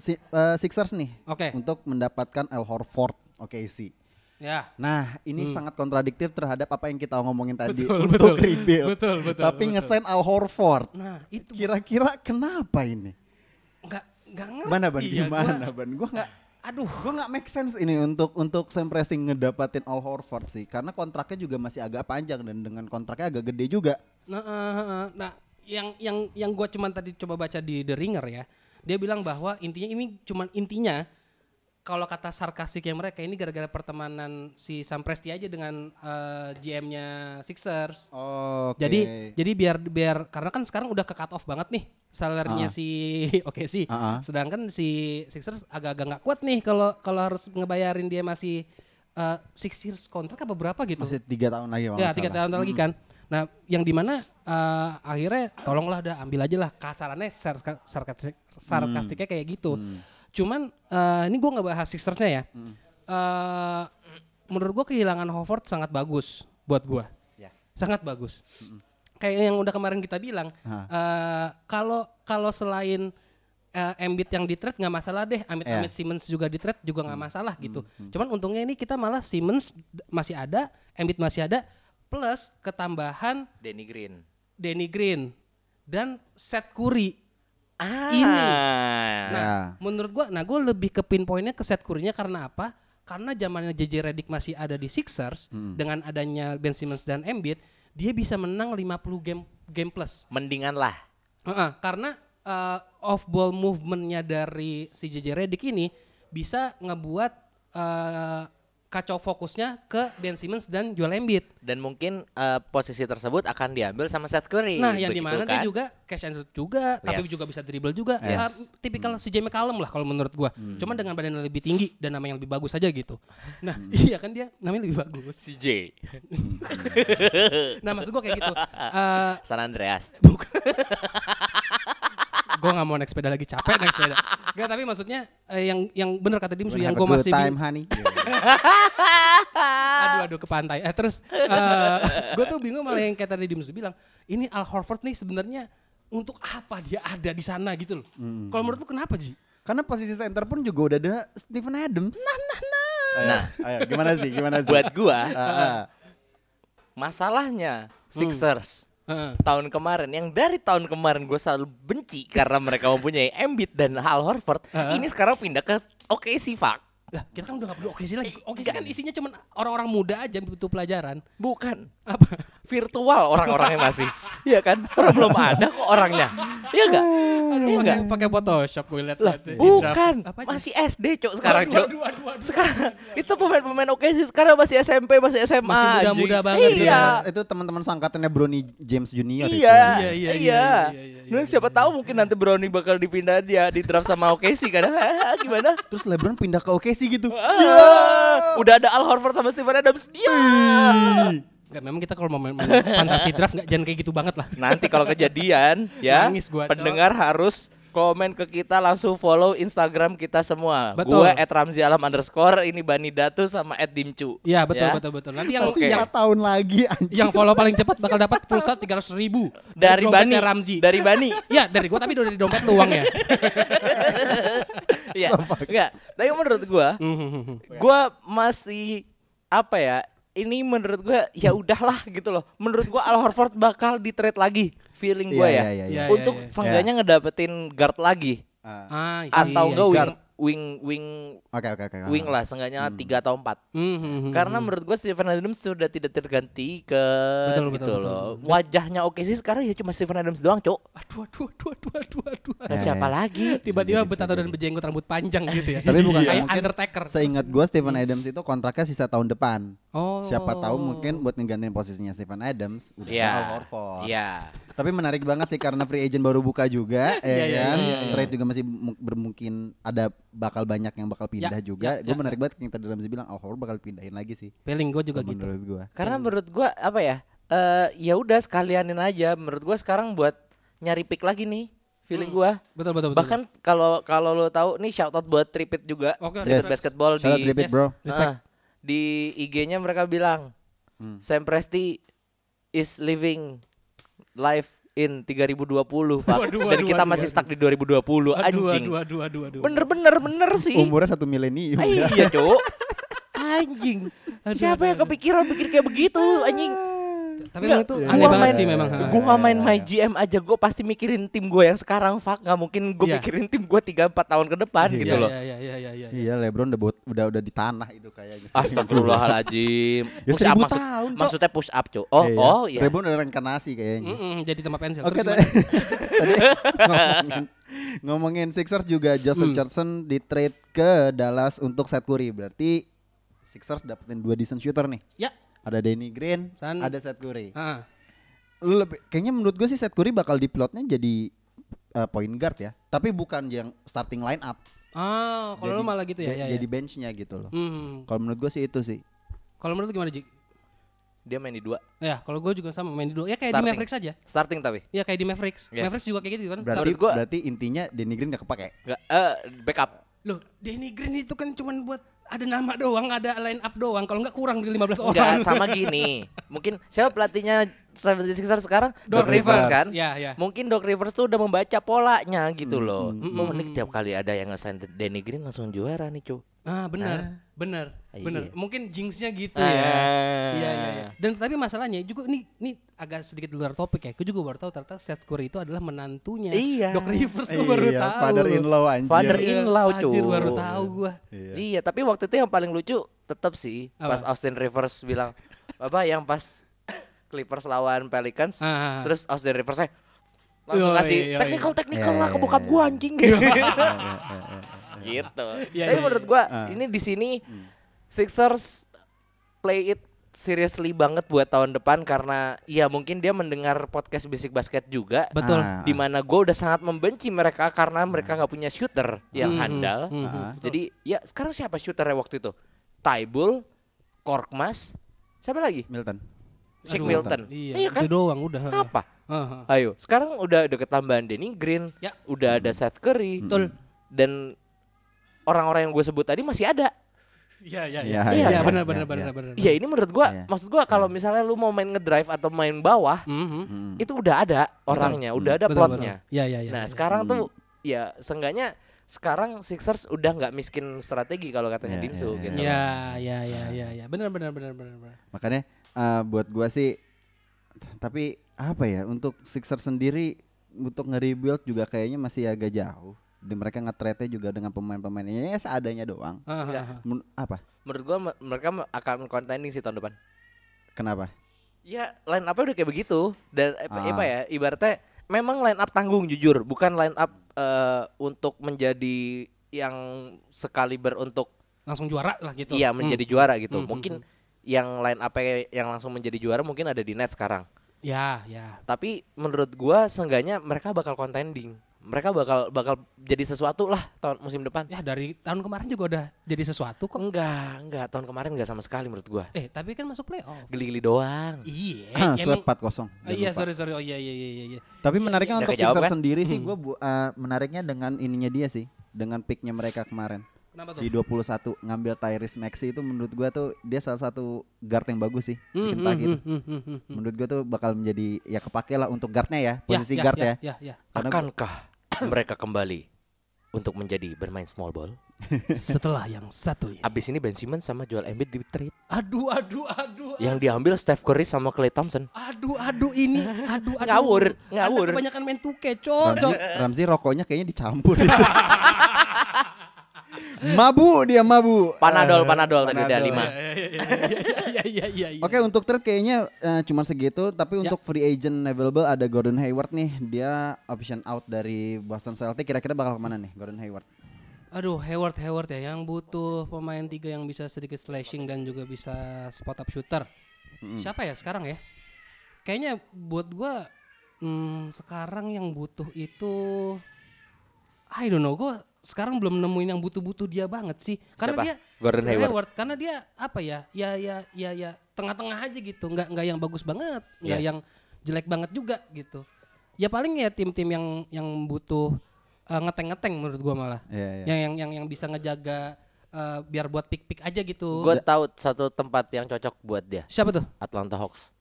si- eh, Sixers nih.
Oke.
Untuk mendapatkan Al Horford. Oke sih.
Ya.
Nah, ini sangat kontradiktif terhadap apa yang kita ngomongin tadi
Betul,
untuk
betul.
rebuild.
Betul, betul,
Tapi
betul.
ngesain Al Horford.
Nah, itu
Kira-kira kenapa ini?
enggak enggak ngerti.
Mana ban
ya, gua.
gimana ban? Gua nggak
Aduh.
Gue nggak make sense ini untuk untuk Sam Pressing ngedapatin Al Horford sih, karena kontraknya juga masih agak panjang dan dengan kontraknya agak gede juga.
Nah, eh, eh, eh. nah yang yang yang gua cuman tadi coba baca di The Ringer ya. Dia bilang bahwa intinya ini cuman intinya kalau kata sarkastiknya mereka ini gara-gara pertemanan si Sam Presti aja dengan eh, GM-nya Sixers.
Oke.
Jadi jadi biar biar karena kan sekarang udah ke cut off banget nih salarinya si oke sih.
Ah, ah.
Sedangkan si Sixers agak-agak nggak kuat nih kalau kalau harus ngebayarin dia masih eh, six years kontrak apa berapa gitu.
masih tiga tahun lagi kalau
ya
nggak
tiga
salah.
tahun lagi kan. Nah yang dimana eh, akhirnya tolonglah udah ambil aja lah kasarannya sarka- sarkastik-
Mm.
sarkastiknya kayak gitu. Cuman eh, ini gue nggak bahas Sixersnya ya.
Mm.
Eh, menurut gue kehilangan Howard sangat bagus buat gue
Ya.
sangat bagus. Kayak yang udah kemarin kita bilang,
Hah.
eh, kalau kalau selain eh, Embiid yang di trade nggak masalah deh, Amit Amit Simmons juga di trade juga nggak masalah gitu. Cuman untungnya ini kita malah Simmons d- masih ada, Embiid masih ada, plus ketambahan
Danny Green.
Danny Green dan Seth Curry.
Ah.
Ini. Nah,
Ya.
menurut gua, nah gua lebih ke pinpointnya ke Seth Curry-nya karena apa? Karena zamannya JJ Redick masih ada di Sixers dengan adanya Ben Simmons dan Embiid, dia bisa menang 50 game game plus.
Mendingan lah.
Heeh, karena eh, off ball movement-nya dari si JJ Redick ini bisa ngebuat eh, kacau fokusnya ke Ben Simmons dan Joel Embiid.
Dan mungkin eh, posisi tersebut akan diambil sama Seth Curry.
Nah, yang
begitu
dimana
kan?
dia juga cash and shoot juga, tapi
Yes.
juga bisa dribble juga.
Yes.
Ah, tipikal CJ McCallum lah kalau menurut gua. Cuman dengan badan yang lebih tinggi dan nama yang lebih bagus aja gitu. Nah, iya kan dia namanya lebih bagus.
CJ
Nah, maksud gua kayak gitu. Eh
San Andreas.
gua nggak mau naik sepeda lagi capek naik sepeda. Gak tapi maksudnya eh, yang yang bener kata Dimsu yang
Have a
gua
good
masih
time,
bing-
honey.
aduh aduh ke pantai. Eh terus eh gua tuh bingung malah yang kayak tadi Dimsu bilang, ini Al Horford nih sebenarnya untuk apa dia ada di sana gitu loh. Kalau menurut lu kenapa, Ji?
karena posisi center pun juga udah ada Stephen Adams. Nah, nah, nah. Ayo,
Nah.
ayo, gimana sih? Gimana sih?
Buat gua,
Eh.
Ah, ah.
masalahnya Sixers
Heeh.
tahun kemarin yang dari tahun kemarin gue selalu benci karena mereka mempunyai Embiid dan Al Horford.
Heeh.
Ini sekarang pindah ke OKC Fak.
Lah, kita kan udah gak perlu OKC lagi. OKC kan isinya cuman orang-orang muda aja butuh pelajaran.
Bukan
Apa?
virtual orang-orangnya masih. Iya kan? Orang belum ada kok orangnya. Iya enggak?
Aduh,
Iya enggak?
pakai pakai Photoshop gue lihat
Lah, bukan. Masih SD, Cok, sekarang,
Aduh,
Cok.
aduh, aduh, aduh.
Sekarang itu pemain-pemain oke sih sekarang masih SMP, masih SMA.
Masih muda-muda
anjing.
banget
Iya.
Teman- Itu teman-teman sangkatannya Bronny James Junior itu.
Iya,
Iya, iya,
iya,
iya, iya, iya,
Dan siapa tahu mungkin nanti Brownie bakal dipindah dia di draft sama OKC kan? Hah, Gimana?
Terus LeBron pindah ke OKC gitu.
Ah.
Iya. Ah, Udah ada Al Horford sama Steven Adams. Iya.
Gak Gak, memang kita kalau mau main, main fantasi draft nggak jangan kayak gitu banget lah.
Nanti kalau kejadian ya
Nangis gua, Cok.
pendengar harus komen ke kita langsung follow Instagram kita semua.
Betul.
Gue at Ramzi Alam underscore ini Bani Datu sama at Dimcu.
Iya betul
Ya.
betul betul. Nanti yang
Oke.
yang,
Lima tahun lagi anjing.
yang follow paling cepat bakal dapat pulsa tiga ratus ribu
Dari Bani.
dompetnya Ramzi.
Dari Bani.
Iya dari gua tapi dari dompet ya. lu uangnya.
Iya. Enggak. Tapi menurut gue,
Hmm,
gue masih apa ya? Ini menurut gue ya udahlah gitu loh. Menurut gue Al Horford bakal di trade lagi. Feeling gue
Iya,
ya.
iya,
iya, iya.
Untuk
Iya, iya, iya.
seenggaknya ngedapetin guard lagi.
Ah,
ah, isi,
atau enggak
iya.
wing wing wing
Oke oke oke.
wing lah
Hmm.
seenggaknya tiga atau empat
hmm,
karena menurut gue Steven Adams sudah tidak terganti ke
Betul,
gitu
betul, betul,
loh. Wajahnya oke sih sekarang ya cuma Steven Adams doang, Cok.
Aduh aduh aduh aduh aduh aduh.
Nah,
Ya,
siapa
ya.
lagi?
Tiba-tiba betato dan berjenggot rambut panjang gitu ya.
Tapi bukan
kayak
mungkin
Undertaker.
Seingat gua Stephen Adams itu kontraknya sisa tahun depan.
Oh.
Siapa tahu mungkin buat ngegantiin posisinya Stephen Adams udah
Iya.
Al Horford.
Iya.
Tapi menarik banget sih karena free agent baru buka juga, ya
Iya, iya,
kan?
iya, iya.
Trade juga masih mu- bermungkin ada bakal banyak yang bakal pindah
Ya,
juga.
ya,
Gue
ya.
menarik banget yang tadi Ramzi bilang Al Horford bakal pindahin lagi sih.
Feeling gue juga gitu.
Menurut gue.
Karena menurut gue apa ya? Eh ya udah sekalianin aja. Menurut gue sekarang buat nyari pick lagi nih feeling gue.
Hmm. Betul betul betul.
Bahkan kalau kalau lo tahu nih shout out buat Tripit juga.
Oke,
Tripit
yes.
basketball
Shout out
di
Yes.
Tripit, bro.
Respect.
Ah, di IG-nya mereka bilang
Hmm.
Sam Presti is living life in 3020 Pak.
Waduh,
Dan
waduh,
kita
waduh,
masih
waduh.
stuck di 2020
aduh,
anjing.
aduh aduh aduh aduh.
Bener-bener bener sih.
Umurnya satu milenium.
Ah,
ya.
iya, Cuk. anjing.
Aduh,
Siapa
aduh,
yang
aduh.
kepikiran pikir kayak begitu anjing?
Tapi memang itu
Nggak,
aneh
gua
banget
main-
sih memang. ha.
Gue nggak main my GM aja, gue pasti mikirin tim gue yang sekarang, fuck. Nggak mungkin gue
Iya.
mikirin tim gue 3-4 tahun ke depan
Iya,
gitu
Iya,
loh.
Iya iya iya iya iya.
Iya, LeBron udah buat- udah udah di tanah itu kayaknya. Iya,
Astagfirullahaladzim.
Ya,
push up
seribu
maksud,
tahun, Cok.
maksudnya push up, Cuk. Oh,
Iya.
oh iya.
LeBron udah reinkarnasi kayaknya.
Mm-mm, jadi tempat pensil.
Oke,
Mm, Terus
ta-
gimana?
tadi ngomongin, ngomongin Sixers juga Josh
Hmm.
Richardson di trade ke Dallas untuk Seth Curry. Berarti Sixers dapetin dua decent shooter nih.
Iya.
Ya.
Ada Danny Green,
San-
ada Seth Curry.
Ah.
Lu lebih- kayaknya menurut gue sih Seth Curry bakal di plotnya jadi eh, point guard ya. Tapi bukan yang starting line up.
Ah, kalau lu
Jadi-
malah gitu ya.
ja-
ya,
Jadi
ya.
benchnya gitu loh.
Hmm.
Kalau menurut gue sih itu sih.
Kalau menurut lu gimana, Jik?
Dia main di dua.
Ya, kalau gue juga sama main di dua. Ya kayak
Starting.
di Mavericks aja.
Starting tapi.
Ya kayak di Mavericks.
Yes.
Mavericks juga kayak gitu kan.
Berarti
Hmm. Menurut gua-
berarti intinya Danny Green gak kepake.
Enggak eh backup.
Loh, Danny Green itu kan cuman buat ada nama doang, ada line up doang. Kalau nggak kurang dari 15
Enggak
orang.
sama gini. Mungkin siapa pelatihnya 76ers sekarang?
Doc Rivers.
kan?
Ya, ya.
Mungkin Doc Rivers tuh udah membaca polanya
Hmm.
gitu loh. Mau nih
Hmm.
tiap kali ada yang ngesign Danny Green langsung juara nih, Cuk.
Ah, benar. Benar.
Iya.
Benar. Mungkin jinxnya gitu
Ah.
ya. Iya, iya, iya. Dan tapi masalahnya juga ini ini agak sedikit di luar topik ya. Gue juga baru tahu ternyata Seth Curry itu adalah menantunya
Iya.
Doc Rivers. Gue baru
Iya,
tahu.
Father in law
Father
anjir.
Iya,
in law,
anjir,
Cuk.
baru tahu gue.
Iya. tapi waktu itu yang paling lucu tetap sih pas
Apa?
Austin Rivers bilang apa yang pas Clippers lawan Pelicans,
Ah.
terus Austin Rivers eh, langsung
Yoi,
kasih
yoi.
technical technical
Iya,
lah ke
iya,
bokap
iya,
gua
iya.
anjing gitu. gitu.
Iya,
Tapi
iya,
menurut gua
Ah.
ini di sini
Hmm.
Sixers play it seriously banget buat tahun depan karena ya mungkin dia mendengar podcast Basic Basket juga
Betul.
Ah.
di mana gue udah sangat membenci mereka karena
Hmm.
mereka nggak punya shooter yang handal.
Ah.
Jadi ya sekarang siapa shooternya waktu itu? Taibul, Korkmas, siapa lagi?
Milton.
Shake
Aduh,
Milton.
Iya,
kan?
itu doang udah.
Apa?
Ah, ah.
Ayo, sekarang udah ada ketambahan Danny Green,
Ya. Hmm.
udah ada Seth Curry,
Betul.
dan orang-orang yang gue sebut tadi masih ada.
Iya, iya,
Iya,
iya. Iya,
iya, iya,
benar
iya,
benar
iya.
benar benar.
Ya ini menurut gua,
Iya.
maksud gua
Hmm.
kalau misalnya lu mau main ngedrive atau main bawah,
Mhm.
Hmm.
itu udah ada orangnya, udah ada
Betul,
plotnya.
betul. Iya, iya, iya.
Nah sekarang tuh
Hmm.
ya seenggaknya sekarang Sixers udah nggak miskin strategi kalau katanya
Iya,
Dimsu
iya,
gitu.
Ya, ya, ya, ya, ya. Benar, benar, benar, benar, benar.
Makanya eh, buat gua sih t- tapi apa ya untuk Sixers sendiri untuk nge-rebuild juga kayaknya masih agak jauh. Dan mereka nge-trade-nya juga dengan pemain-pemainnya ya seadanya doang.
Ah,
Iya.
ah, ah.
Men- apa?
Menurut gua me- mereka me- akan contending sih tahun depan.
Kenapa?
Ya line up udah kayak begitu dan eh, apa
Ah.
apa ya ibaratnya memang line up tanggung jujur bukan line up eh, untuk menjadi yang sekali beruntuk
Langsung juara lah gitu.
iya
Hmm.
menjadi juara gitu.
Hmm, hmm,
Mungkin yang line up yang langsung menjadi juara mungkin ada di net sekarang.
Ya, ya.
Tapi menurut gua seenggaknya mereka bakal contending. mereka bakal bakal jadi sesuatu lah tahun musim depan.
Ya dari tahun kemarin juga udah jadi sesuatu kok.
Enggak, enggak tahun kemarin enggak sama sekali menurut gua.
Eh tapi kan masuk playoff.
Geli-geli doang.
Iya.
Eh,
Ah,
emang-
Sweat 4-0.
Oh, iya sorry sorry oh iya iya iya iya, iya.
Tapi
iya.
menariknya untuk
Nggak kejawab,
Sixers
kan?
sendiri sih gue menariknya dengan ininya dia sih, dengan picknya mereka kemarin.
Kenapa tuh?
Di 21 ngambil Tyrese Maxey itu menurut gua tuh dia salah satu guard yang bagus sih di
Hmm,
Kentucky
hmm,
tuh.
hmm, hmm, hmm, hmm.
Menurut gua tuh bakal menjadi ya kepake lah untuk guardnya ya,
Ya,
posisi guard ya.
Ya, ya.
Karena-
Akankah mereka kembali untuk menjadi bermain small ball?
Setelah yang satu ini.
Abis ini Ben Simmons sama Joel Embiid di trade.
Aduh aduh aduh.
Ya.
Yang diambil Steph Curry sama Klay Thompson.
Aduh aduh ini aduh aduh.
Ngawur,
Anda
ngawur.
kebanyakan main 2K, cok,
Ramzi,
cok.
Ramzi rokoknya kayaknya dicampur. mabu dia mabu.
Panadol,
Eh,
panadol tadi ada lima.
Iya, iya, iya, iya, iya, iya, iya.
Oke untuk trade kayaknya eh, cuma segitu tapi
Ya.
untuk free agent available ada Gordon Hayward nih dia option out dari Boston Celtics kira-kira bakal kemana nih Gordon Hayward?
Aduh, Hayward Hayward ya yang butuh pemain tiga yang bisa sedikit slashing dan juga bisa spot up shooter. Siapa ya sekarang ya? Kayaknya buat gua hmm, sekarang yang butuh itu I don't know, gua sekarang belum nemuin yang butuh-butuh dia banget sih. Karena
Siapa?
dia
Gordon Hayward.
karena dia apa ya? Ya ya ya ya tengah-tengah aja gitu, nggak nggak yang bagus banget, nggak
Yes.
yang jelek banget juga gitu. Ya paling ya tim-tim yang yang butuh eh, ngeteng-ngeteng menurut gua malah
Ya.
Iya, iya.
yang yang yang yang bisa ngejaga eh, biar buat pick pick aja gitu.
Gue tahu satu tempat yang cocok buat dia.
Siapa tuh?
Atlanta Hawks.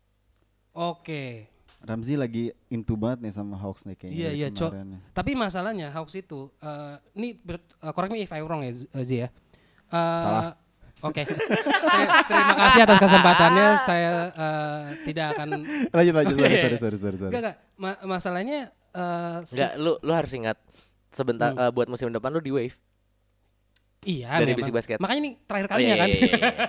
Oke.
Ramzi lagi into banget nih sama Hawks nih kayaknya.
Iya
dari
iya cok.
kemarin nih.
Tapi masalahnya Hawks itu eh, ini ber- eh, correct me if I wrong ya Z- eh, Z ya. Eh,
Salah.
Oke. Ter- terima kasih atas kesempatannya. Saya eh, tidak akan
Lanjut lanjut sorry sorry sorry sorry. sorry.
Enggak enggak. Ma- masalahnya eh, si-
Enggak, lu lu harus ingat sebentar eh, buat musim depan lu di wave.
Iya.
dari
memang.
bisik basket.
Makanya ini terakhir
Oh,
kalinya kan.
iya,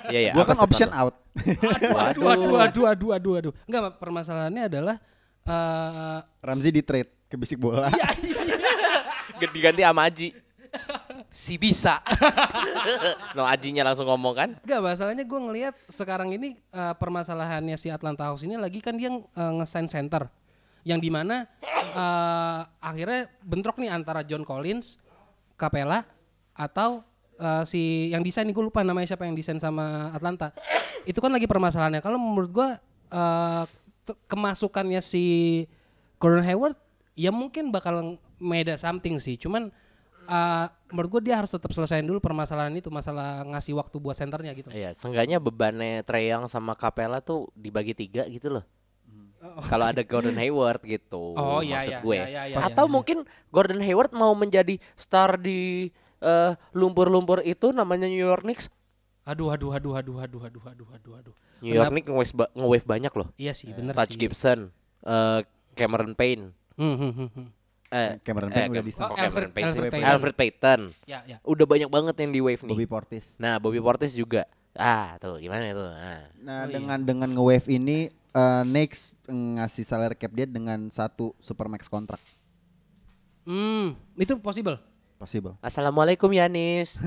iya, iya.
Gua
Apa
kan
sih,
option
Pak?
out.
aduh, aduh, aduh, aduh, aduh, aduh. Enggak, ma- permasalahannya adalah eh,
Ramzi di trade ke bisik bola.
Iya. Ge- diganti sama Aji. si bisa. no Ajinya langsung ngomong kan?
Gak masalahnya gue ngelihat sekarang ini eh, permasalahannya si Atlanta Hawks ini lagi kan dia eh, nge-sign center yang dimana eh, akhirnya bentrok nih antara John Collins, Capella atau eh, si yang desain gue lupa namanya siapa yang desain sama Atlanta itu kan lagi permasalahannya kalau menurut gue eh, te- kemasukannya si Gordon Hayward ya mungkin bakal meda something sih cuman eh, menurut gue dia harus tetap selesaiin dulu permasalahan itu masalah ngasih waktu buat senternya gitu
Iya, seenggaknya bebannya Treyang sama Capella tuh dibagi tiga gitu loh. Kalau ada Gordon Hayward gitu,
Oh, iya,
maksud
iya,
gue.
iya, iya,
Atau
iya, iya.
mungkin Gordon Hayward mau menjadi star di eh, lumpur-lumpur itu namanya New York Knicks.
aduh aduh aduh aduh aduh aduh aduh aduh aduh
New York
Kenapa-
Knicks nge-wave, ba- nge-wave banyak loh.
iya sih bener
Touch
sih
Gibson, eh, Cameron Payne,
Hmm, hmm, hmm, hmm.
eh,
Cameron
eh,
Payne udah
Cam-
di-sign.
oh,
Oh,
Cameron
Alfred-
Payne sih.
Alfred
Alfred,
Payton.
Payton.
ya ya
Udah banyak banget yang di wave nih.
Bobby Portis.
Nah, Bobby Portis juga. Ah, tuh gimana tuh? Nah.
Nah, dengan dengan nge-wave ini eh, next ngasih salary cap dia dengan satu supermax kontrak.
hmm itu possible
Possible.
Assalamualaikum Yanis.